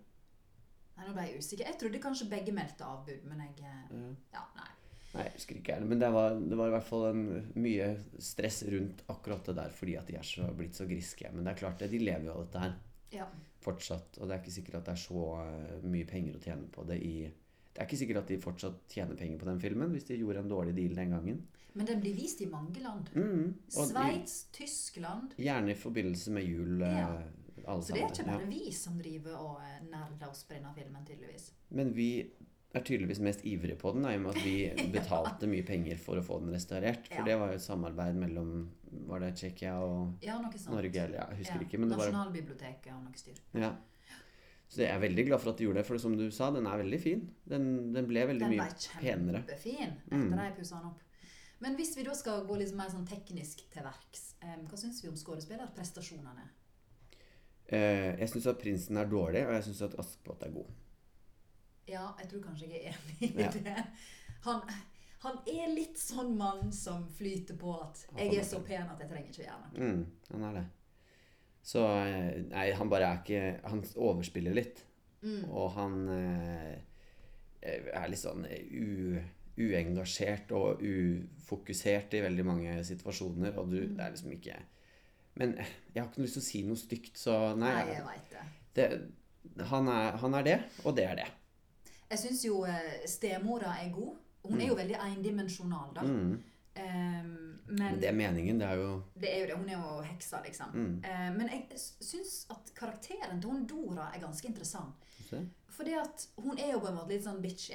[SPEAKER 2] Nei, nå ble jeg usikker. Jeg trodde kanskje begge meldte avbud, men jeg eh, Ja, nei.
[SPEAKER 1] Nei, jeg husker ikke heller. Men det var, det var i hvert fall en, mye stress rundt akkurat det der fordi at de er så, blitt så griske. Men det er klart, det, de lever jo av dette her.
[SPEAKER 2] Ja.
[SPEAKER 1] fortsatt. Og det er ikke sikkert at det er så eh, mye penger å tjene på det i Det er ikke sikkert at de fortsatt tjener penger på den filmen hvis de gjorde en dårlig deal den gangen.
[SPEAKER 2] Men den blir vist i mange land.
[SPEAKER 1] Mm. Og i,
[SPEAKER 2] Sveits, Tyskland.
[SPEAKER 1] gjerne i forbindelse med jul. eh,
[SPEAKER 2] Ja.
[SPEAKER 1] Alle
[SPEAKER 2] Så det er
[SPEAKER 1] sammen.
[SPEAKER 2] ikke
[SPEAKER 1] Ja.
[SPEAKER 2] bare vi som driver og eh, nerder og sprenner filmen, tydeligvis.
[SPEAKER 1] Men vi er tydeligvis mest ivrige på den, da, i og med at
[SPEAKER 2] (laughs)
[SPEAKER 1] vi betalte mye penger for å få den restaurert. For
[SPEAKER 2] Ja.
[SPEAKER 1] det var jo et samarbeid mellom Var det Tsjekkia og
[SPEAKER 2] Ja, noe sånt.
[SPEAKER 1] Norge, eller ja, jeg husker
[SPEAKER 2] Sånn. Ja,
[SPEAKER 1] ikke. Men det var,
[SPEAKER 2] Nasjonalbiblioteket og noe styr.
[SPEAKER 1] ja. Så jeg er veldig glad for at du gjorde det, for som du sa, den er veldig fin. Den, den ble veldig
[SPEAKER 2] Den
[SPEAKER 1] mye
[SPEAKER 2] var
[SPEAKER 1] penere.
[SPEAKER 2] kjempefin
[SPEAKER 1] Mm.
[SPEAKER 2] etter at jeg pussa den opp. Men hvis vi da skal gå litt mer sånn teknisk til verks, eh, hva syns vi om skuespillerprestasjonene?
[SPEAKER 1] Eh, jeg syns at Prinsen er dårlig, og jeg syns at Askepott er god.
[SPEAKER 2] Ja, jeg tror kanskje jeg er enig i
[SPEAKER 1] Ja.
[SPEAKER 2] det. Han, han er litt sånn mann som flyter på at
[SPEAKER 1] Han
[SPEAKER 2] 'jeg er
[SPEAKER 1] får
[SPEAKER 2] så pen at jeg trenger ikke gjøre noe'.
[SPEAKER 1] Mm, han er det. Så eh, Nei, han bare er ikke Han overspiller litt.
[SPEAKER 2] Mm.
[SPEAKER 1] Og han eh, er litt sånn u, uengasjert og ufokusert i veldig mange situasjoner, og du
[SPEAKER 2] Mm.
[SPEAKER 1] Det er liksom ikke Men eh, jeg har ikke lyst til å si noe stygt, så nei.
[SPEAKER 2] Nei, jeg veit det.
[SPEAKER 1] Det, han, er, han er det, og det er det.
[SPEAKER 2] Jeg syns jo eh, stemora er god. Hun er jo veldig endimensjonal, da.
[SPEAKER 1] Mm.
[SPEAKER 2] Ehm,
[SPEAKER 1] Men
[SPEAKER 2] men
[SPEAKER 1] det er meningen. Det er jo
[SPEAKER 2] det er jo det. Hun er jo heksa, liksom.
[SPEAKER 1] Mm.
[SPEAKER 2] Eh, men jeg s- syns at karakteren til hun Dora er ganske interessant.
[SPEAKER 1] se.
[SPEAKER 2] Fordi at hun er jo på en måte litt sånn bitchy.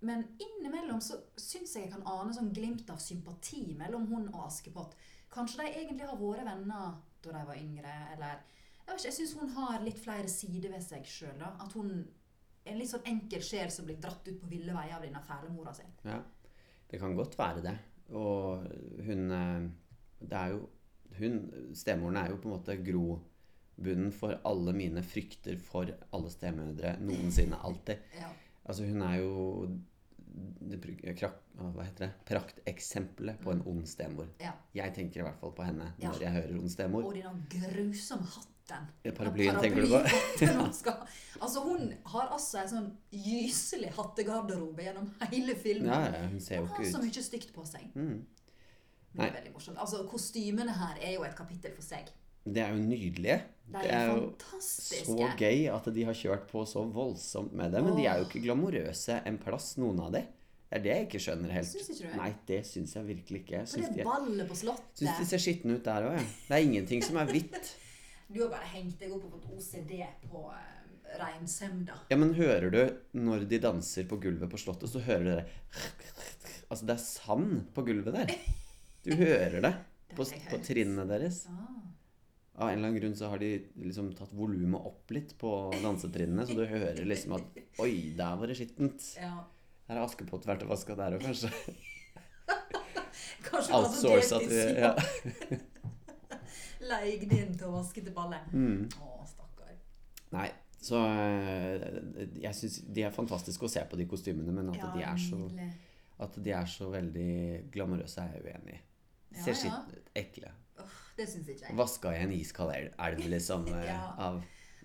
[SPEAKER 2] Men innimellom så syns jeg jeg kan ane sånn glimt av sympati mellom hun og Askepott. Kanskje de egentlig har vært venner da de var yngre, eller Jeg vet ikke, jeg syns hun har litt flere sider ved seg sjøl, da. At hun er en litt sånn enkel sjel som blir dratt ut på ville veier av denne fæle mora si.
[SPEAKER 1] Ja, det kan godt være det. Og hun eh, Det er jo hun, Stemoren er jo på en måte grobunnen for alle mine frykter for alle stemødre noensinne. Alltid.
[SPEAKER 2] Ja.
[SPEAKER 1] Altså, hun er jo det, pr- krak, hva heter det? prakteksempelet på en ond stemor.
[SPEAKER 2] Ja.
[SPEAKER 1] Jeg tenker i hvert fall på henne
[SPEAKER 2] Ja.
[SPEAKER 1] når jeg hører ond stemor.
[SPEAKER 2] Og denne grusomme hatten.
[SPEAKER 1] Paraplyen tenker du på?
[SPEAKER 2] Paraplyen hun skal ha. altså, hun har altså en sånn gyselig hattegarderobe gjennom hele filmen.
[SPEAKER 1] Ja, ja, hun ser jo
[SPEAKER 2] Hun har så
[SPEAKER 1] ikke ut.
[SPEAKER 2] mye stygt på seg.
[SPEAKER 1] Mm.
[SPEAKER 2] Men det er veldig morsomt. Altså, Kostymene her er jo et kapittel for seg.
[SPEAKER 1] Det er jo nydelige.
[SPEAKER 2] De
[SPEAKER 1] Det
[SPEAKER 2] er
[SPEAKER 1] er jo
[SPEAKER 2] fantastiske.
[SPEAKER 1] så gøy at de har kjørt på så voldsomt med det. Men de er jo
[SPEAKER 2] Åh.
[SPEAKER 1] ikke glamorøse en plass, noen av de. Det er det jeg ikke skjønner helt.
[SPEAKER 2] Syns ikke du det?
[SPEAKER 1] Nei, det syns jeg virkelig ikke. Jeg
[SPEAKER 2] For
[SPEAKER 1] syns
[SPEAKER 2] det
[SPEAKER 1] de,
[SPEAKER 2] ballet på slottet
[SPEAKER 1] syns de ser skitne ut der òg, jeg. Det er ingenting som er hvitt.
[SPEAKER 2] Du har bare hengt deg opp på et OCD på uh, reinsemda.
[SPEAKER 1] Ja, men hører du når de danser på gulvet på Slottet, så hører du det Altså, det er sand på gulvet der. Du hører
[SPEAKER 2] (laughs)
[SPEAKER 1] det på,
[SPEAKER 2] Det har jeg
[SPEAKER 1] på
[SPEAKER 2] hørt.
[SPEAKER 1] trinnene deres.
[SPEAKER 2] Ah.
[SPEAKER 1] Av en eller annen grunn så har de liksom tatt volumet opp litt på dansetrinnene, så du hører liksom at Oi, der var det skittent.
[SPEAKER 2] Ja.
[SPEAKER 1] Der har Askepott vært og vaska der òg, kanskje.
[SPEAKER 2] Kanskje bare så
[SPEAKER 1] Outsourca
[SPEAKER 2] delvis,
[SPEAKER 1] til
[SPEAKER 2] (laughs) ja.
[SPEAKER 1] ja.
[SPEAKER 2] Leid inn til å vaske til ballet.
[SPEAKER 1] mm.
[SPEAKER 2] Å, stakkar.
[SPEAKER 1] Nei, så eh, Jeg syns de er fantastiske å se på, de kostymene, men at,
[SPEAKER 2] Ja,
[SPEAKER 1] de, er så,
[SPEAKER 2] nydelig.
[SPEAKER 1] at de er så veldig glamorøse, er jeg uenig i.
[SPEAKER 2] Ja,
[SPEAKER 1] Ser
[SPEAKER 2] ja.
[SPEAKER 1] skitne ut. Ekle.
[SPEAKER 2] Åh, Det syns ikke jeg.
[SPEAKER 1] Vaska i en iskald el- elv, liksom. eh,
[SPEAKER 2] (laughs) Ja.
[SPEAKER 1] Av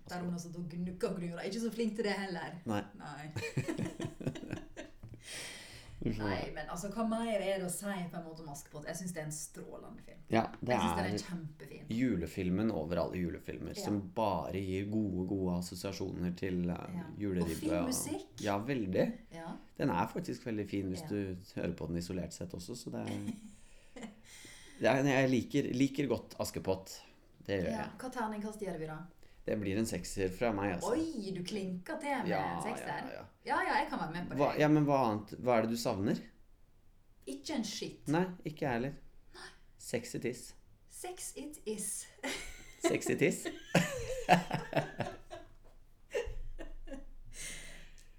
[SPEAKER 2] Der hun har stått og gnukka og gnura. Ikke så flink til det heller.
[SPEAKER 1] Nei.
[SPEAKER 2] Nei.
[SPEAKER 1] Uff,
[SPEAKER 2] Nei, men altså, hva mer er det å si på en måte om Askepott? Jeg syns det er en strålende film.
[SPEAKER 1] Ja, det
[SPEAKER 2] Jeg synes den
[SPEAKER 1] er
[SPEAKER 2] er kjempefin.
[SPEAKER 1] julefilmen over alle julefilmer,
[SPEAKER 2] Ja.
[SPEAKER 1] som bare gir gode, gode assosiasjoner til eh,
[SPEAKER 2] Ja. Og
[SPEAKER 1] juleribbe.
[SPEAKER 2] fin musikk.
[SPEAKER 1] Ja, veldig.
[SPEAKER 2] Ja.
[SPEAKER 1] Den er faktisk veldig fin hvis
[SPEAKER 2] Ja.
[SPEAKER 1] du hører på den isolert sett også, så det er det er, nei, Jeg liker, liker godt Askepott. Det gjør
[SPEAKER 2] ja.
[SPEAKER 1] jeg.
[SPEAKER 2] Hva terningkast gjør vi da?
[SPEAKER 1] Det blir en sekser fra meg, altså.
[SPEAKER 2] Oi, du klinker til med en sekser.
[SPEAKER 1] ja, ja.
[SPEAKER 2] Ja, ja, jeg kan være med på
[SPEAKER 1] Hva,
[SPEAKER 2] det.
[SPEAKER 1] ja, men hva annet? Hva er det du savner?
[SPEAKER 2] Ikke en shit.
[SPEAKER 1] Nei, ikke jeg heller. Sexy tiss.
[SPEAKER 2] Sex it is. (laughs)
[SPEAKER 1] Sexy tiss.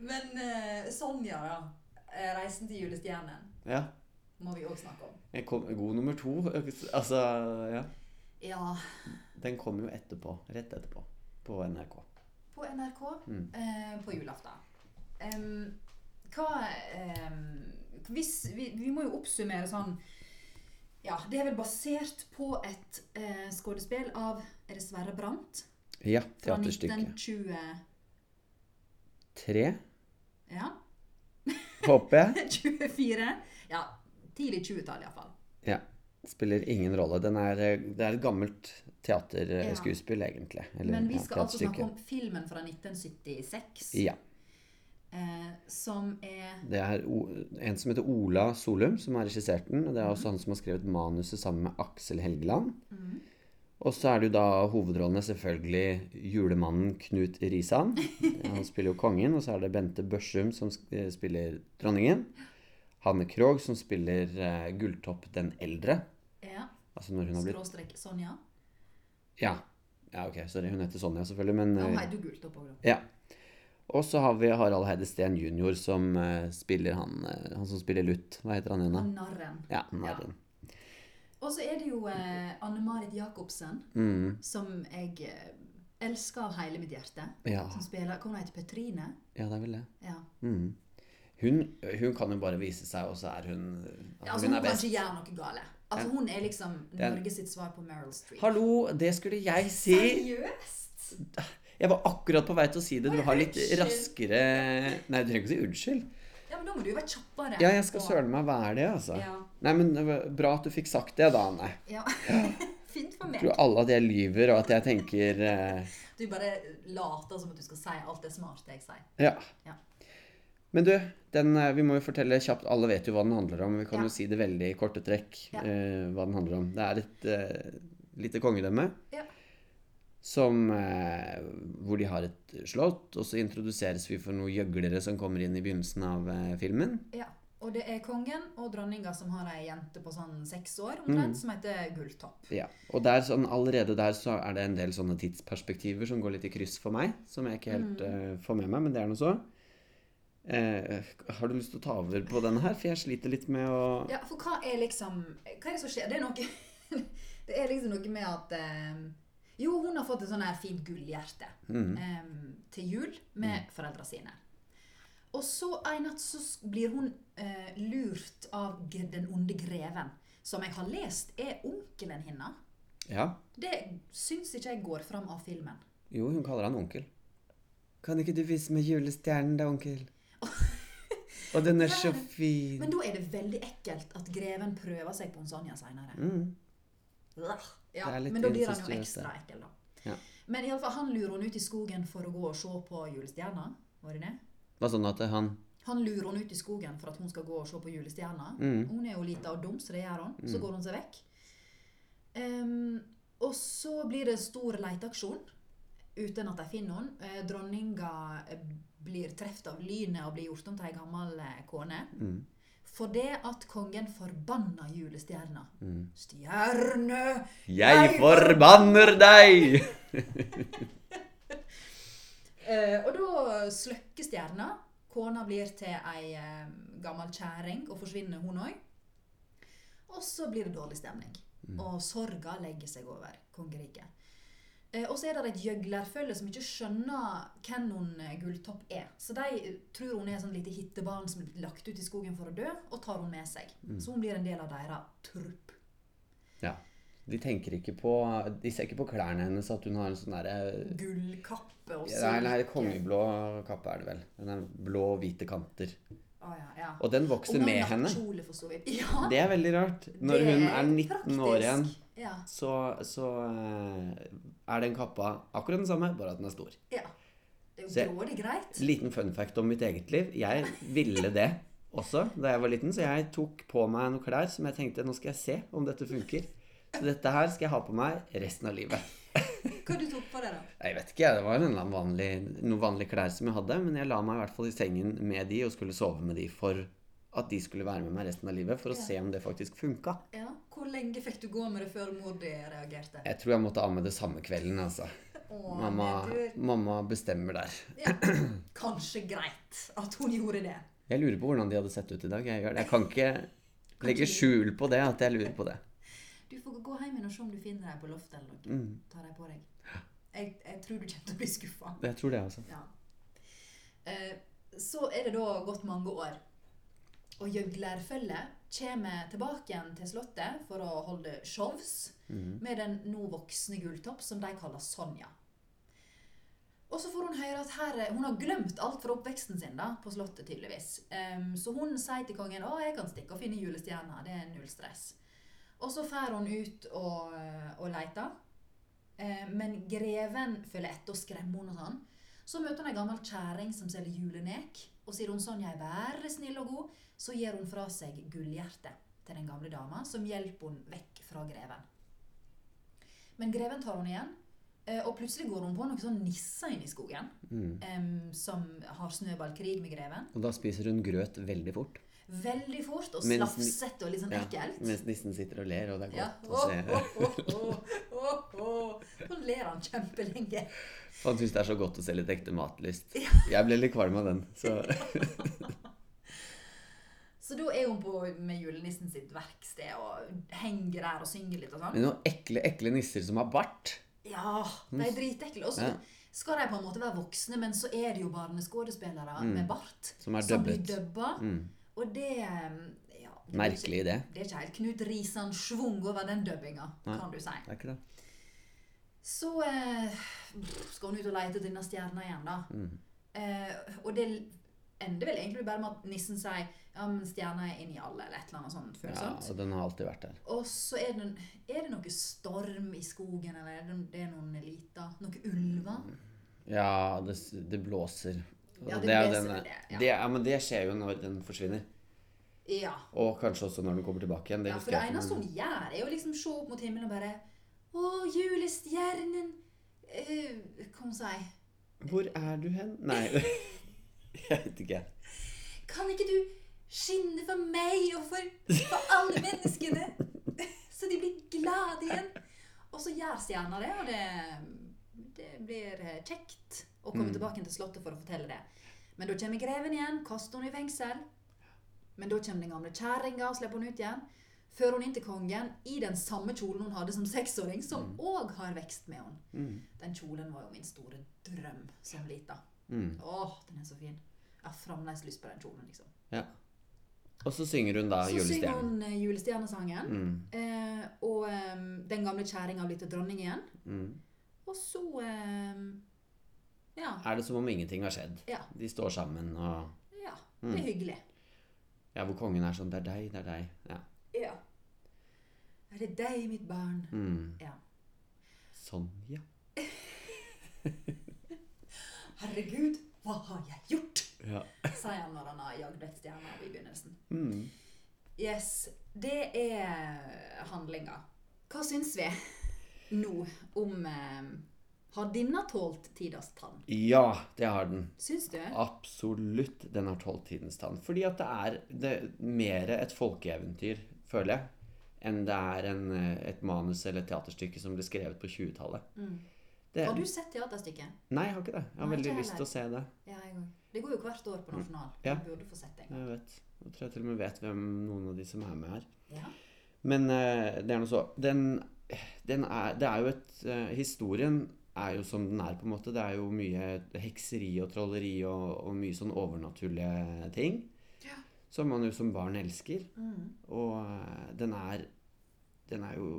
[SPEAKER 2] Men eh, Sonja, ja. Eh, Reisen til julestjernen
[SPEAKER 1] Ja.
[SPEAKER 2] må vi òg snakke om.
[SPEAKER 1] Jeg kom, god nummer to. Altså, ja.
[SPEAKER 2] Ja,
[SPEAKER 1] Den kom jo etterpå. Rett etterpå. På NRK.
[SPEAKER 2] på NRK
[SPEAKER 1] Mm.
[SPEAKER 2] eh, på julaften. Em, hva em, hvis, vi, vi må jo oppsummere sånn Ja, det er vel basert på et eh, skuespill av Er det Sverre Brandt?
[SPEAKER 1] Ja.
[SPEAKER 2] Fra
[SPEAKER 1] Teaterstykket.
[SPEAKER 2] 1920
[SPEAKER 1] Tre,
[SPEAKER 2] Ja. (laughs)
[SPEAKER 1] håper jeg.
[SPEAKER 2] 24. Ja, tidlig 20-tall iallfall.
[SPEAKER 1] Ja. Spiller ingen rolle. Den er, eh, det er et gammelt
[SPEAKER 2] Ja.
[SPEAKER 1] teaterskuespill, egentlig. Eller,
[SPEAKER 2] Men vi
[SPEAKER 1] ja,
[SPEAKER 2] skal altså snakke
[SPEAKER 1] teaterstykke.
[SPEAKER 2] om filmen fra 1976,
[SPEAKER 1] Ja.
[SPEAKER 2] eh, som er
[SPEAKER 1] Det er O- en som heter Ola Solum, som har regissert den. og Det er også han som har skrevet manuset sammen med Aksel Helgeland.
[SPEAKER 2] Mhm.
[SPEAKER 1] Og så er det jo da hovedrollene selvfølgelig julemannen Knut Risan. Han spiller jo kongen. Og så er det Bente Børsum som sk- eh, spiller dronningen. Hanne Krogh som spiller eh, Gulltopp den eldre.
[SPEAKER 2] ja,
[SPEAKER 1] Altså når hun har blitt
[SPEAKER 2] Skråstrek Sonja.
[SPEAKER 1] Ja, ja ok, sorry. Hun heter Sonja, selvfølgelig. Men
[SPEAKER 2] Nå
[SPEAKER 1] eh,
[SPEAKER 2] har du gult opp òg, da.
[SPEAKER 1] Ja. Og så har vi Harald Heide Steen jr. som eh, spiller han eh, Han som spiller Lutt. Hva heter han igjen, da?
[SPEAKER 2] Og narren.
[SPEAKER 1] Ja, narren.
[SPEAKER 2] Og så er det jo eh, Anne-Marit Jacobsen,
[SPEAKER 1] Mm,
[SPEAKER 2] som jeg eh, elsker av hele mitt hjerte.
[SPEAKER 1] ja.
[SPEAKER 2] Som spiller Hva heter hun? Petrine?
[SPEAKER 1] ja, det er vel det.
[SPEAKER 2] Ja.
[SPEAKER 1] Mm. Hun, hun kan jo bare vise seg, og så er hun at
[SPEAKER 2] Altså,
[SPEAKER 1] Hun
[SPEAKER 2] hun
[SPEAKER 1] er
[SPEAKER 2] kan
[SPEAKER 1] best.
[SPEAKER 2] ikke gjøre noe gale. Altså, hun er liksom
[SPEAKER 1] Den-
[SPEAKER 2] Norge sitt svar på Meryl Streep.
[SPEAKER 1] Hallo, det skulle jeg si!
[SPEAKER 2] Seriøst?
[SPEAKER 1] Jeg var akkurat på vei til å si det. Du
[SPEAKER 2] Oi,
[SPEAKER 1] har litt
[SPEAKER 2] unnskyld.
[SPEAKER 1] raskere Nei, du trenger ikke å si unnskyld.
[SPEAKER 2] Ja, men da må du jo være kjappere.
[SPEAKER 1] Ja, jeg skal
[SPEAKER 2] Og-
[SPEAKER 1] søren meg være det, altså.
[SPEAKER 2] Ja.
[SPEAKER 1] Nei, men det var bra at du fikk sagt det, da, Anne.
[SPEAKER 2] ja. (laughs) Fint for meg.
[SPEAKER 1] Tror alle at jeg lyver, og at jeg tenker eh,
[SPEAKER 2] Du bare later som at du skal si alt det smarte jeg sier.
[SPEAKER 1] Ja.
[SPEAKER 2] Ja.
[SPEAKER 1] Men du, den, eh, vi må jo fortelle kjapt. Alle vet jo hva den handler om. men Vi kan
[SPEAKER 2] Ja.
[SPEAKER 1] jo si det veldig i korte trekk
[SPEAKER 2] Ja.
[SPEAKER 1] eh, hva den handler om. Det er et eh, lite kongedømme
[SPEAKER 2] Ja.
[SPEAKER 1] som, eh, hvor de har et slott, og så introduseres vi for noen gjøglere som kommer inn i begynnelsen av eh, filmen.
[SPEAKER 2] Ja. Og det er kongen og dronninga som har ei jente på sånn seks år omtrent, som heter Gulltopp.
[SPEAKER 1] Ja. Og der, sånn, allerede der så er det en del sånne tidsperspektiver som går litt i kryss for meg, som jeg ikke helt
[SPEAKER 2] Mm.
[SPEAKER 1] eh, får med meg, men det er nå så. Eh, har du lyst til å ta over på denne her? For jeg sliter litt med å
[SPEAKER 2] Ja, for hva er liksom Hva er det som skjer? Det er noe (laughs) Det er liksom noe med at eh, Jo, hun har fått et sånn her fint gullhjerte
[SPEAKER 1] Mhm.
[SPEAKER 2] eh, til jul med foreldra sine. Og så en natt så s- blir hun eh, lurt av g- den onde greven, som jeg har lest er onkelen hennes.
[SPEAKER 1] ja.
[SPEAKER 2] Det syns ikke jeg går fram av filmen.
[SPEAKER 1] Jo, hun kaller han onkel. Kan ikke du vise meg julestjernen da, (laughs) onkel? Og den er så fin.
[SPEAKER 2] Men da er det veldig ekkelt at greven prøver seg på en Sonja seinere.
[SPEAKER 1] Mm.
[SPEAKER 2] Ja,
[SPEAKER 1] Det er litt
[SPEAKER 2] men da blir han jo
[SPEAKER 1] incestuøst,
[SPEAKER 2] ekstra ekkel, da.
[SPEAKER 1] Ja.
[SPEAKER 2] Men i alle fall, han lurer henne ut i skogen for å gå og se på julestjerna. Var det det?
[SPEAKER 1] Var sånn at han
[SPEAKER 2] Han lurer henne ut i skogen for at hun skal gå og se på julestjerna.
[SPEAKER 1] Mm.
[SPEAKER 2] Hun er jo lita og dum, så det gjør hun. Så går hun seg vekk. Ehm, og så blir det stor leteaksjon uten at de finner henne. Eh, Dronninga eh, blir truffet av lynet og blir gjort om til ei gammel eh, kone.
[SPEAKER 1] mm.
[SPEAKER 2] Fordi at kongen forbanna julestjerna.
[SPEAKER 1] Mm.
[SPEAKER 2] Stjerne!
[SPEAKER 1] Jeg
[SPEAKER 2] Jeg
[SPEAKER 1] forbanner deg! (laughs)
[SPEAKER 2] Eh, og da slukker stjerna. Kona blir til ei eh, gammel kjerring, og forsvinner hun òg. Og så blir det dårlig stemning.
[SPEAKER 1] Mm.
[SPEAKER 2] Og sorga legger seg over kongeriket. Eh, og så er det et gjøglerfølge som ikke skjønner hvem hun eh, Gulltopp er. Så de eh, tror hun er et sånn lite hittebarn som blir lagt ut i skogen for å dø, og tar hun med seg.
[SPEAKER 1] Mm.
[SPEAKER 2] Så hun blir en del av deres trupp.
[SPEAKER 1] Ja. De tenker ikke på De ser ikke på klærne hennes at hun har en sånn derre
[SPEAKER 2] Gullkappe og
[SPEAKER 1] Nei, nei,
[SPEAKER 2] silke.
[SPEAKER 1] kongeblå kappe er det vel. Den er blå, hvite kanter.
[SPEAKER 2] Å, ja, ja.
[SPEAKER 1] Og den vokser med henne.
[SPEAKER 2] Kjole, for så vidt. (laughs) Ja,
[SPEAKER 1] Det er veldig rart. Når
[SPEAKER 2] det
[SPEAKER 1] hun er 19 år
[SPEAKER 2] praktisk.
[SPEAKER 1] igjen,
[SPEAKER 2] Ja.
[SPEAKER 1] så, så eh, er den kappa akkurat den samme, bare at den er stor.
[SPEAKER 2] Ja. Det
[SPEAKER 1] Så
[SPEAKER 2] er
[SPEAKER 1] jeg-
[SPEAKER 2] jo grådig greit.
[SPEAKER 1] Liten fun fact om mitt eget liv. Jeg ville det også da jeg var liten, så jeg tok på meg noen klær som jeg tenkte nå skal jeg se om dette funker. Så dette her skal jeg ha på meg resten av livet.
[SPEAKER 2] Hva du tok på deg, da?
[SPEAKER 1] Jeg vet ikke, det var en eller annen vanlig, noen vanlige klær som jeg hadde, men jeg la meg i hvert fall i sengen med de og skulle sove med de for at de skulle være med meg resten av livet, for å
[SPEAKER 2] Ja.
[SPEAKER 1] se om det faktisk funka.
[SPEAKER 2] Ja. Hvor lenge fikk du gå med det før mor di reagerte?
[SPEAKER 1] Jeg tror jeg måtte av med det samme kvelden, altså.
[SPEAKER 2] Å,
[SPEAKER 1] Mamma,
[SPEAKER 2] nedtur.
[SPEAKER 1] mamma bestemmer der.
[SPEAKER 2] Ja. Kanskje greit at hun gjorde det.
[SPEAKER 1] Jeg lurer på hvordan de hadde sett ut i dag. Jeg, gjør det. jeg kan ikke legge skjul på det, at jeg lurer på det.
[SPEAKER 2] Du får gå hjem igjen og se om du finner deg på loftet eller noe.
[SPEAKER 1] Mm.
[SPEAKER 2] Ta deg på deg. Jeg, jeg tror du kommer til å bli skuffa.
[SPEAKER 1] Jeg tror det, altså.
[SPEAKER 2] Ja. Eh, så er det da gått mange år. Og gjøglerfølget kommer tilbake igjen til slottet for å holde shows med den nå voksne Gulltopp, som de kaller Sonja. Og så får hun høre at her, eh, hun har glemt alt fra oppveksten sin da, på slottet, tydeligvis. Em, så hun sier til kongen å, jeg kan stikke og finne julestjerna, det er null stress. Og så drar hun ut og, og leter. Eh, men greven følger etter og skremmer henne og sånn. Så møter hun ei gammel kjerring som selger julenek, og sier hun sånn, jeg være snill og god, så gir hun fra seg gullhjertet til den gamle dama, som hjelper hun vekk fra greven. Men greven tar hun igjen, eh, og plutselig går hun på noen sånn nisser inne i skogen,
[SPEAKER 1] Mm.
[SPEAKER 2] em, som har snøballkrig med greven.
[SPEAKER 1] Og da spiser hun grøt veldig fort.
[SPEAKER 2] Veldig fort og
[SPEAKER 1] Mens-
[SPEAKER 2] slafsete og litt sånn
[SPEAKER 1] Ja,
[SPEAKER 2] ekkelt.
[SPEAKER 1] Mens nissen sitter og ler, og det er
[SPEAKER 2] Ja.
[SPEAKER 1] godt
[SPEAKER 2] Åh,
[SPEAKER 1] (laughs) å se.
[SPEAKER 2] åh, åh, åh, åh, åh. Nå ler han kjempelenge.
[SPEAKER 1] Han syns det er så godt å se litt ekte matlyst. Jeg ble litt kvalm av den. Så
[SPEAKER 2] Så da er hun på med julenissen sitt verksted og henger der og synger litt og sånn.
[SPEAKER 1] Men noen ekle, ekle nisser som har bart.
[SPEAKER 2] Ja, de er dritekle. Og så
[SPEAKER 1] Ja.
[SPEAKER 2] skal de på en måte være voksne, men så er det jo barneskuespillere
[SPEAKER 1] Mm.
[SPEAKER 2] med bart
[SPEAKER 1] Som er
[SPEAKER 2] som blir
[SPEAKER 1] dubbet.
[SPEAKER 2] dubba.
[SPEAKER 1] Mm.
[SPEAKER 2] Og det ja, det er
[SPEAKER 1] Merkelig idé.
[SPEAKER 2] Ikke, det er ikke helt Knut Risan schwung over den dubbinga,
[SPEAKER 1] Nei.
[SPEAKER 2] kan du si.
[SPEAKER 1] Det er ikke det.
[SPEAKER 2] Så eh, pff, skal hun ut og lete etter denne stjerna igjen, da.
[SPEAKER 1] Mm.
[SPEAKER 2] Eh, og det ender vel egentlig bare med at nissen sier ja, men stjerna er inni alle, eller et eller annet sånt.
[SPEAKER 1] Ja,
[SPEAKER 2] følsomt.
[SPEAKER 1] og den har alltid vært der.
[SPEAKER 2] Og så er det, er det noe storm i skogen, eller er det, det er noen eliter? Noen ulver?
[SPEAKER 1] Mm. Ja, det, s- det blåser. Og
[SPEAKER 2] Ja, det
[SPEAKER 1] er jo
[SPEAKER 2] blåser,
[SPEAKER 1] den-
[SPEAKER 2] det- ja.
[SPEAKER 1] det, ja, men det skjer jo når den forsvinner.
[SPEAKER 2] Ja.
[SPEAKER 1] Og kanskje også når den kommer tilbake igjen. Det
[SPEAKER 2] ja for
[SPEAKER 1] husker
[SPEAKER 2] det
[SPEAKER 1] jeg ikke,
[SPEAKER 2] eneste
[SPEAKER 1] men-
[SPEAKER 2] hun gjør, er jo liksom se opp mot himmelen og bare Å, julestjernen eh, Hva hun sier
[SPEAKER 1] Hvor er du hen?
[SPEAKER 2] (laughs)
[SPEAKER 1] Nei, (laughs) jeg vet ikke.
[SPEAKER 2] Kan ikke du skinne for meg og for, for alle menneskene, (laughs) så de blir glade igjen? Og så gjør stjerna det, og det, det blir eh, kjekt å komme
[SPEAKER 1] Mm.
[SPEAKER 2] tilbake til Slottet for å fortelle det. Men da kommer greven igjen, kaster hun i fengsel. Men da kommer den gamle kjerringa og slipper hun ut igjen. Fører hun inn til kongen i den samme kjolen hun hadde som seksåring, som òg har vekst med henne.
[SPEAKER 1] Mm.
[SPEAKER 2] Den kjolen var jo min store drøm som lita.
[SPEAKER 1] Mm.
[SPEAKER 2] Åh, den er så fin. Jeg har fremdeles lyst på den kjolen, liksom.
[SPEAKER 1] Ja. Og så synger hun da
[SPEAKER 2] Så synger
[SPEAKER 1] julestjernen.
[SPEAKER 2] hun eh, julestjernesangen,
[SPEAKER 1] Mm.
[SPEAKER 2] eh, og eh, den gamle kjerringa blir til dronning igjen.
[SPEAKER 1] Mm.
[SPEAKER 2] Og så eh, ja,
[SPEAKER 1] Er det som om ingenting har skjedd?
[SPEAKER 2] ja.
[SPEAKER 1] De står sammen og
[SPEAKER 2] Ja. Det
[SPEAKER 1] Mm.
[SPEAKER 2] er hyggelig.
[SPEAKER 1] Ja, hvor kongen er sånn Det er deg, det er deg. Ja.
[SPEAKER 2] Ja. Er det deg, mitt barn?
[SPEAKER 1] Mm.
[SPEAKER 2] Ja.
[SPEAKER 1] Sånn, ja.
[SPEAKER 2] Herregud, hva har jeg gjort?
[SPEAKER 1] ja.
[SPEAKER 2] Sier han når han har jagd et stjerne i begynnelsen.
[SPEAKER 1] Mm.
[SPEAKER 2] Yes, det er handlinga. Hva syns vi nå om eh, Har denne tålt tidas tann?
[SPEAKER 1] Ja, det har den.
[SPEAKER 2] Syns du?
[SPEAKER 1] Absolutt den har tålt tidens tann. Fordi at det er det, mer et folkeeventyr, føler jeg, enn det er en, eh, et manus eller et teaterstykke som ble skrevet på 20-tallet.
[SPEAKER 2] Mm.
[SPEAKER 1] Det-
[SPEAKER 2] Har du sett teaterstykket?
[SPEAKER 1] Nei, jeg har ikke det. Jeg har
[SPEAKER 2] Nei,
[SPEAKER 1] veldig
[SPEAKER 2] ikke
[SPEAKER 1] lyst til å se det.
[SPEAKER 2] Ja, jeg òg. Det går jo hvert år på Nasjonal.
[SPEAKER 1] Mm. Ja.
[SPEAKER 2] Du burde få sett det. en gang.
[SPEAKER 1] Jeg vet. Jeg tror jeg til og med vet hvem noen av de som er med her.
[SPEAKER 2] Ja.
[SPEAKER 1] Men eh, det er noe så den, den er, Det er jo et eh, Historien er jo som den er, på en måte. Det er jo mye hekseri og trolleri og, og mye sånn overnaturlige ting.
[SPEAKER 2] Ja.
[SPEAKER 1] Som man jo som barn elsker.
[SPEAKER 2] Mm.
[SPEAKER 1] Og eh, den er Den er jo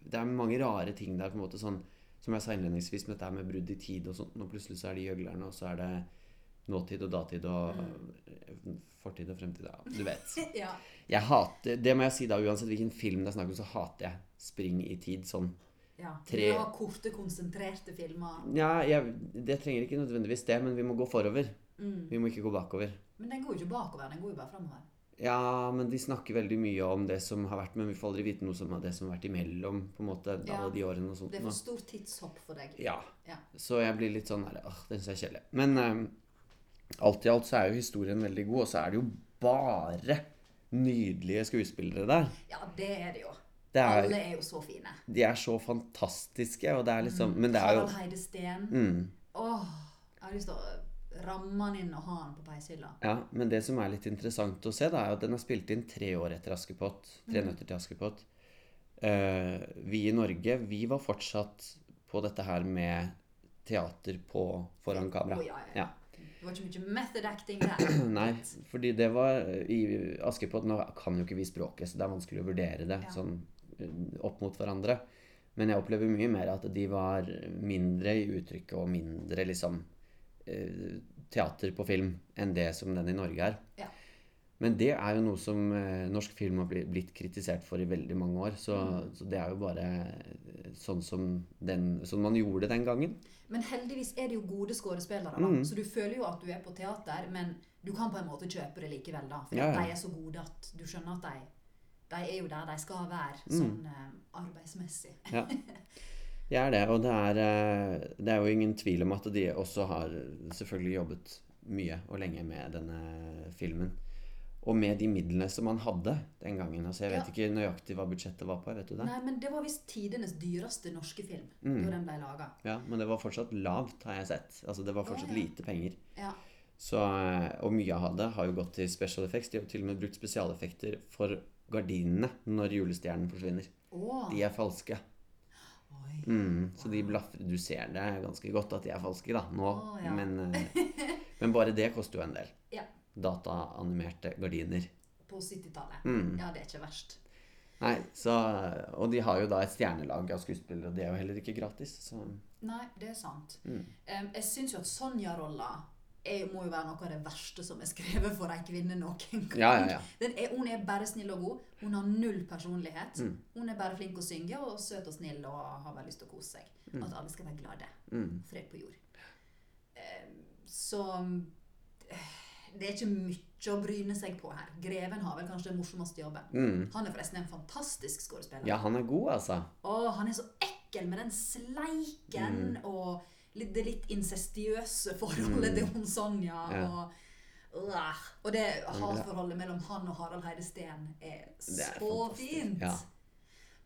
[SPEAKER 1] Det er mange rare ting der, på en måte sånn Som jeg sa innledningsvis, med dette med brudd i tid og sånt. Og plutselig så er de gjøglerne, og så er det nåtid og datid og eh, fortid og fremtid. Ja, du vet.
[SPEAKER 2] ja.
[SPEAKER 1] Jeg hater, det må jeg si da, uansett hvilken film det er snakk om, så hater jeg spring i tid sånn.
[SPEAKER 2] ja.
[SPEAKER 1] Tre-
[SPEAKER 2] Du har korte, konsentrerte filmer.
[SPEAKER 1] Ja, jeg, det trenger ikke nødvendigvis det, men vi må gå forover.
[SPEAKER 2] Mm.
[SPEAKER 1] Vi må ikke gå bakover.
[SPEAKER 2] Men den går jo ikke bakover, den går jo bare framover.
[SPEAKER 1] Ja, men de snakker veldig mye om det som har vært, men vi får aldri vite noe som er det som har vært imellom, på en måte,
[SPEAKER 2] Ja.
[SPEAKER 1] alle de årene og sånt.
[SPEAKER 2] Det er
[SPEAKER 1] nå.
[SPEAKER 2] for stort tidshopp for deg.
[SPEAKER 1] Ja.
[SPEAKER 2] Ja.
[SPEAKER 1] Så jeg blir litt sånn der, åh, den synes jeg er kjedelig. Men eh, alt i alt så er jo historien veldig god, og så er det jo bare nydelige skuespillere der.
[SPEAKER 2] Ja, det er det jo.
[SPEAKER 1] Det er,
[SPEAKER 2] Alle er jo så fine.
[SPEAKER 1] de er så fantastiske, og det er liksom,
[SPEAKER 2] Mm.
[SPEAKER 1] men det er jo...
[SPEAKER 2] Harald Heide Steen.
[SPEAKER 1] Mm.
[SPEAKER 2] Åh, jeg har lyst til å ramme han inn og ha han på peishylla.
[SPEAKER 1] Ja, men det som er litt interessant å se, da, er at den er spilt inn tre år etter Askepott. Tre
[SPEAKER 2] Mm.
[SPEAKER 1] nøtter til Askepott. Eh, vi i Norge, vi var fortsatt på dette her med teater på foran kamera.
[SPEAKER 2] Å, ja, ja, ja. Det var ikke mye method acting der.
[SPEAKER 1] (clears throat) Nei, fordi det var eh, i Askepott Nå kan jo ikke vi språket, så det er vanskelig å vurdere det
[SPEAKER 2] Ja.
[SPEAKER 1] sånn eh, opp mot hverandre. Men jeg opplever mye mer at de var mindre i uttrykket og mindre liksom eh, teater på film enn det som den i Norge er.
[SPEAKER 2] Ja.
[SPEAKER 1] Men det er jo noe som
[SPEAKER 2] Mm.
[SPEAKER 1] eh, norsk film har bli- blitt kritisert for i veldig mange år, så, så det er jo bare eh, sånn som, den, sånn man gjorde den gangen.
[SPEAKER 2] Men heldigvis er det jo gode skuespillere, da.
[SPEAKER 1] Mm.
[SPEAKER 2] så du føler jo at du er på teater, men du kan på en måte kjøpe det likevel, da. For
[SPEAKER 1] Ja, ja.
[SPEAKER 2] de er så gode at du skjønner at de, de er jo der de skal være,
[SPEAKER 1] Mm.
[SPEAKER 2] sånn eh, arbeidsmessig.
[SPEAKER 1] Det er det, og det er, eh, det er jo ingen tvil om at de også har selvfølgelig jobbet mye og lenge med denne filmen. Og med de midlene som man hadde den gangen. Altså, jeg vet
[SPEAKER 2] Ja.
[SPEAKER 1] ikke nøyaktig hva budsjettet var på, vet du det?
[SPEAKER 2] Nei, men det var visst tidenes dyreste norske film
[SPEAKER 1] Mm.
[SPEAKER 2] da den ble laga.
[SPEAKER 1] Ja, men det var fortsatt lavt, har jeg sett. Altså, det var
[SPEAKER 2] Ja,
[SPEAKER 1] fortsatt
[SPEAKER 2] ja.
[SPEAKER 1] lite penger.
[SPEAKER 2] Ja.
[SPEAKER 1] Så, eh, og mye av det har jo gått til special effects. De har jo til og med brukt spesialeffekter for gardinene når julestjernen forsvinner.
[SPEAKER 2] Åh.
[SPEAKER 1] De er falske.
[SPEAKER 2] Oi.
[SPEAKER 1] Mm, så de blaffer Du ser det ganske godt at de er falske da, nå,
[SPEAKER 2] Å, ja.
[SPEAKER 1] men,
[SPEAKER 2] (laughs)
[SPEAKER 1] eh, men bare det koster jo en del.
[SPEAKER 2] Ja.
[SPEAKER 1] Dataanimerte gardiner.
[SPEAKER 2] På 70-tallet.
[SPEAKER 1] Mm.
[SPEAKER 2] Ja, det er ikke verst.
[SPEAKER 1] Nei, så, og de har jo da et stjernelag av skuespillere, og det er jo heller ikke gratis. Så.
[SPEAKER 2] Nei, det er sant.
[SPEAKER 1] Mm.
[SPEAKER 2] Em, jeg syns jo at Sonja-rolla er- må jo være noe av det verste som er skrevet for ei kvinne noen gang.
[SPEAKER 1] Ja, ja, ja.
[SPEAKER 2] Den er, hun er bare snill og god. Hun har null personlighet.
[SPEAKER 1] Mm.
[SPEAKER 2] Hun er bare flink å synge og søt og snill og har bare lyst til å kose seg. At alle skal være glade.
[SPEAKER 1] Mm.
[SPEAKER 2] Fred på jord. Em, Så eh, det er ikke mye å bryne seg på her. Greven har vel kanskje den morsomste jobben.
[SPEAKER 1] Mm.
[SPEAKER 2] Han er forresten en fantastisk skuespiller.
[SPEAKER 1] Ja, han er god, altså.
[SPEAKER 2] Å, han er så ekkel med den sleiken
[SPEAKER 1] Mm.
[SPEAKER 2] og litt, det litt incestiøse forholdet til hun Sonja.
[SPEAKER 1] Ja.
[SPEAKER 2] Og, Uah. og det hatforholdet mellom han og Harald Heide Steen er
[SPEAKER 1] Det er
[SPEAKER 2] så
[SPEAKER 1] fantastisk,
[SPEAKER 2] fint.
[SPEAKER 1] ja.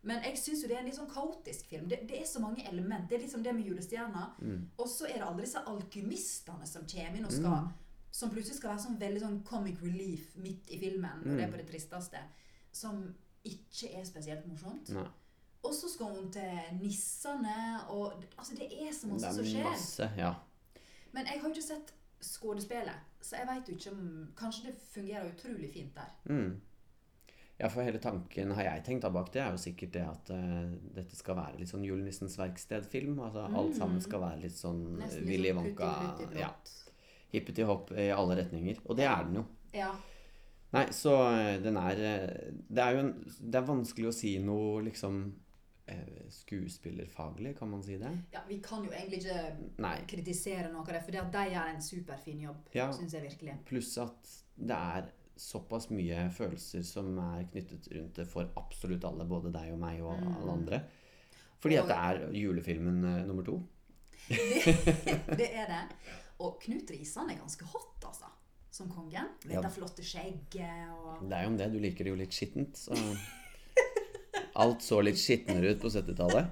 [SPEAKER 2] Men jeg syns jo det er en litt sånn kaotisk film. Det, det er så mange element. Det er liksom det med julestjerna.
[SPEAKER 1] Mm.
[SPEAKER 2] Og så er det alle disse alkymistene som kommer inn og skal
[SPEAKER 1] Mm.
[SPEAKER 2] Som plutselig skal være sånn veldig sånn comic relief midt i filmen, og det er
[SPEAKER 1] Mm.
[SPEAKER 2] på det tristeste. Som ikke er spesielt morsomt.
[SPEAKER 1] Nei.
[SPEAKER 2] Og så skal hun til nissene, og altså, det er så
[SPEAKER 1] Det
[SPEAKER 2] masse som
[SPEAKER 1] er
[SPEAKER 2] skjer.
[SPEAKER 1] masse, ja.
[SPEAKER 2] Men jeg har jo ikke sett skuespillet, så jeg veit jo ikke om Kanskje det fungerer utrolig fint der.
[SPEAKER 1] Mm. Ja, for hele tanken har jeg tenkt da bak det, er jo sikkert det at eh, dette skal være litt sånn Julenissens verksted-film. Altså alt sammen skal være litt sånn
[SPEAKER 2] Mm. Nesten litt
[SPEAKER 1] Willy
[SPEAKER 2] sånn
[SPEAKER 1] Wonka.
[SPEAKER 2] putti, putti,
[SPEAKER 1] Ja,
[SPEAKER 2] blått.
[SPEAKER 1] Hippeti hopp i alle retninger. Og det er den jo.
[SPEAKER 2] ja.
[SPEAKER 1] Nei, så eh, den er eh, Det er jo en Det er vanskelig å si noe liksom eh, skuespillerfaglig, kan man si det?
[SPEAKER 2] ja. Vi kan jo egentlig ikke
[SPEAKER 1] Nei.
[SPEAKER 2] kritisere noe av det, for det at de gjør en superfin jobb,
[SPEAKER 1] Ja.
[SPEAKER 2] syns jeg virkelig.
[SPEAKER 1] Pluss at det er såpass mye følelser som er knyttet rundt det for absolutt alle, både deg og meg og alle andre. Fordi at det er julefilmen eh, nummer to.
[SPEAKER 2] Det er det. Og Knut Risan er ganske hot, altså. Som kongen. Med
[SPEAKER 1] Ja.
[SPEAKER 2] det flotte skjegget og
[SPEAKER 1] Det er jo om det. Du liker det jo litt skittent, så Alt så litt skitnere ut på 70-tallet.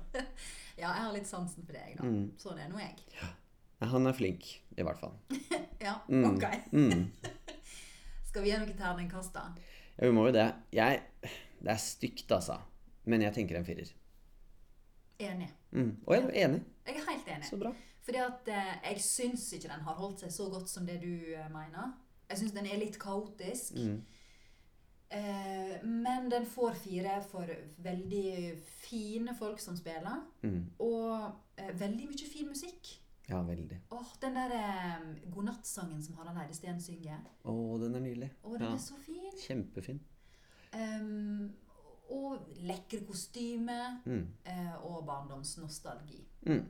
[SPEAKER 2] Ja, jeg har litt sansen for deg, da.
[SPEAKER 1] Mm.
[SPEAKER 2] Sånn er nå jeg.
[SPEAKER 1] Nei, Han er flink, i hvert fall.
[SPEAKER 2] Ja,
[SPEAKER 1] Mm.
[SPEAKER 2] ok.
[SPEAKER 1] Mm.
[SPEAKER 2] Skal vi gi noe terningkast, da?
[SPEAKER 1] Ja, vi må jo det. Jeg Det er stygt, altså. Men jeg tenker en firer.
[SPEAKER 2] Enig.
[SPEAKER 1] Mm. Og jeg er enig.
[SPEAKER 2] Jeg er helt enig.
[SPEAKER 1] Så bra.
[SPEAKER 2] Fordi at eh, jeg syns ikke den har holdt seg så godt som det du eh, mener. Jeg syns den er litt kaotisk.
[SPEAKER 1] Mm.
[SPEAKER 2] Eh, men den får fire for veldig fine folk som spiller,
[SPEAKER 1] Mm.
[SPEAKER 2] og eh, veldig mye fin musikk.
[SPEAKER 1] Ja, veldig.
[SPEAKER 2] Åh, Den der eh, godnattsangen som Harald Eide Steen synger.
[SPEAKER 1] Å, den er nydelig.
[SPEAKER 2] Å, den
[SPEAKER 1] Ja.
[SPEAKER 2] er så fin!
[SPEAKER 1] Kjempefin.
[SPEAKER 2] Ehm, og lekre kostymer.
[SPEAKER 1] Mm.
[SPEAKER 2] eh, og barndomsnostalgi.
[SPEAKER 1] Mm.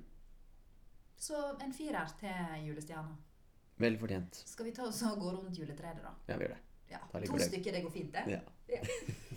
[SPEAKER 2] Så en firer til julestjerna.
[SPEAKER 1] Vel fortjent.
[SPEAKER 2] Skal vi ta oss og gå rundt juletreet, da?
[SPEAKER 1] Ja, vi gjør det.
[SPEAKER 2] Ja,
[SPEAKER 1] Da liker
[SPEAKER 2] to
[SPEAKER 1] det.
[SPEAKER 2] stykker, det går fint, det?
[SPEAKER 1] Ja.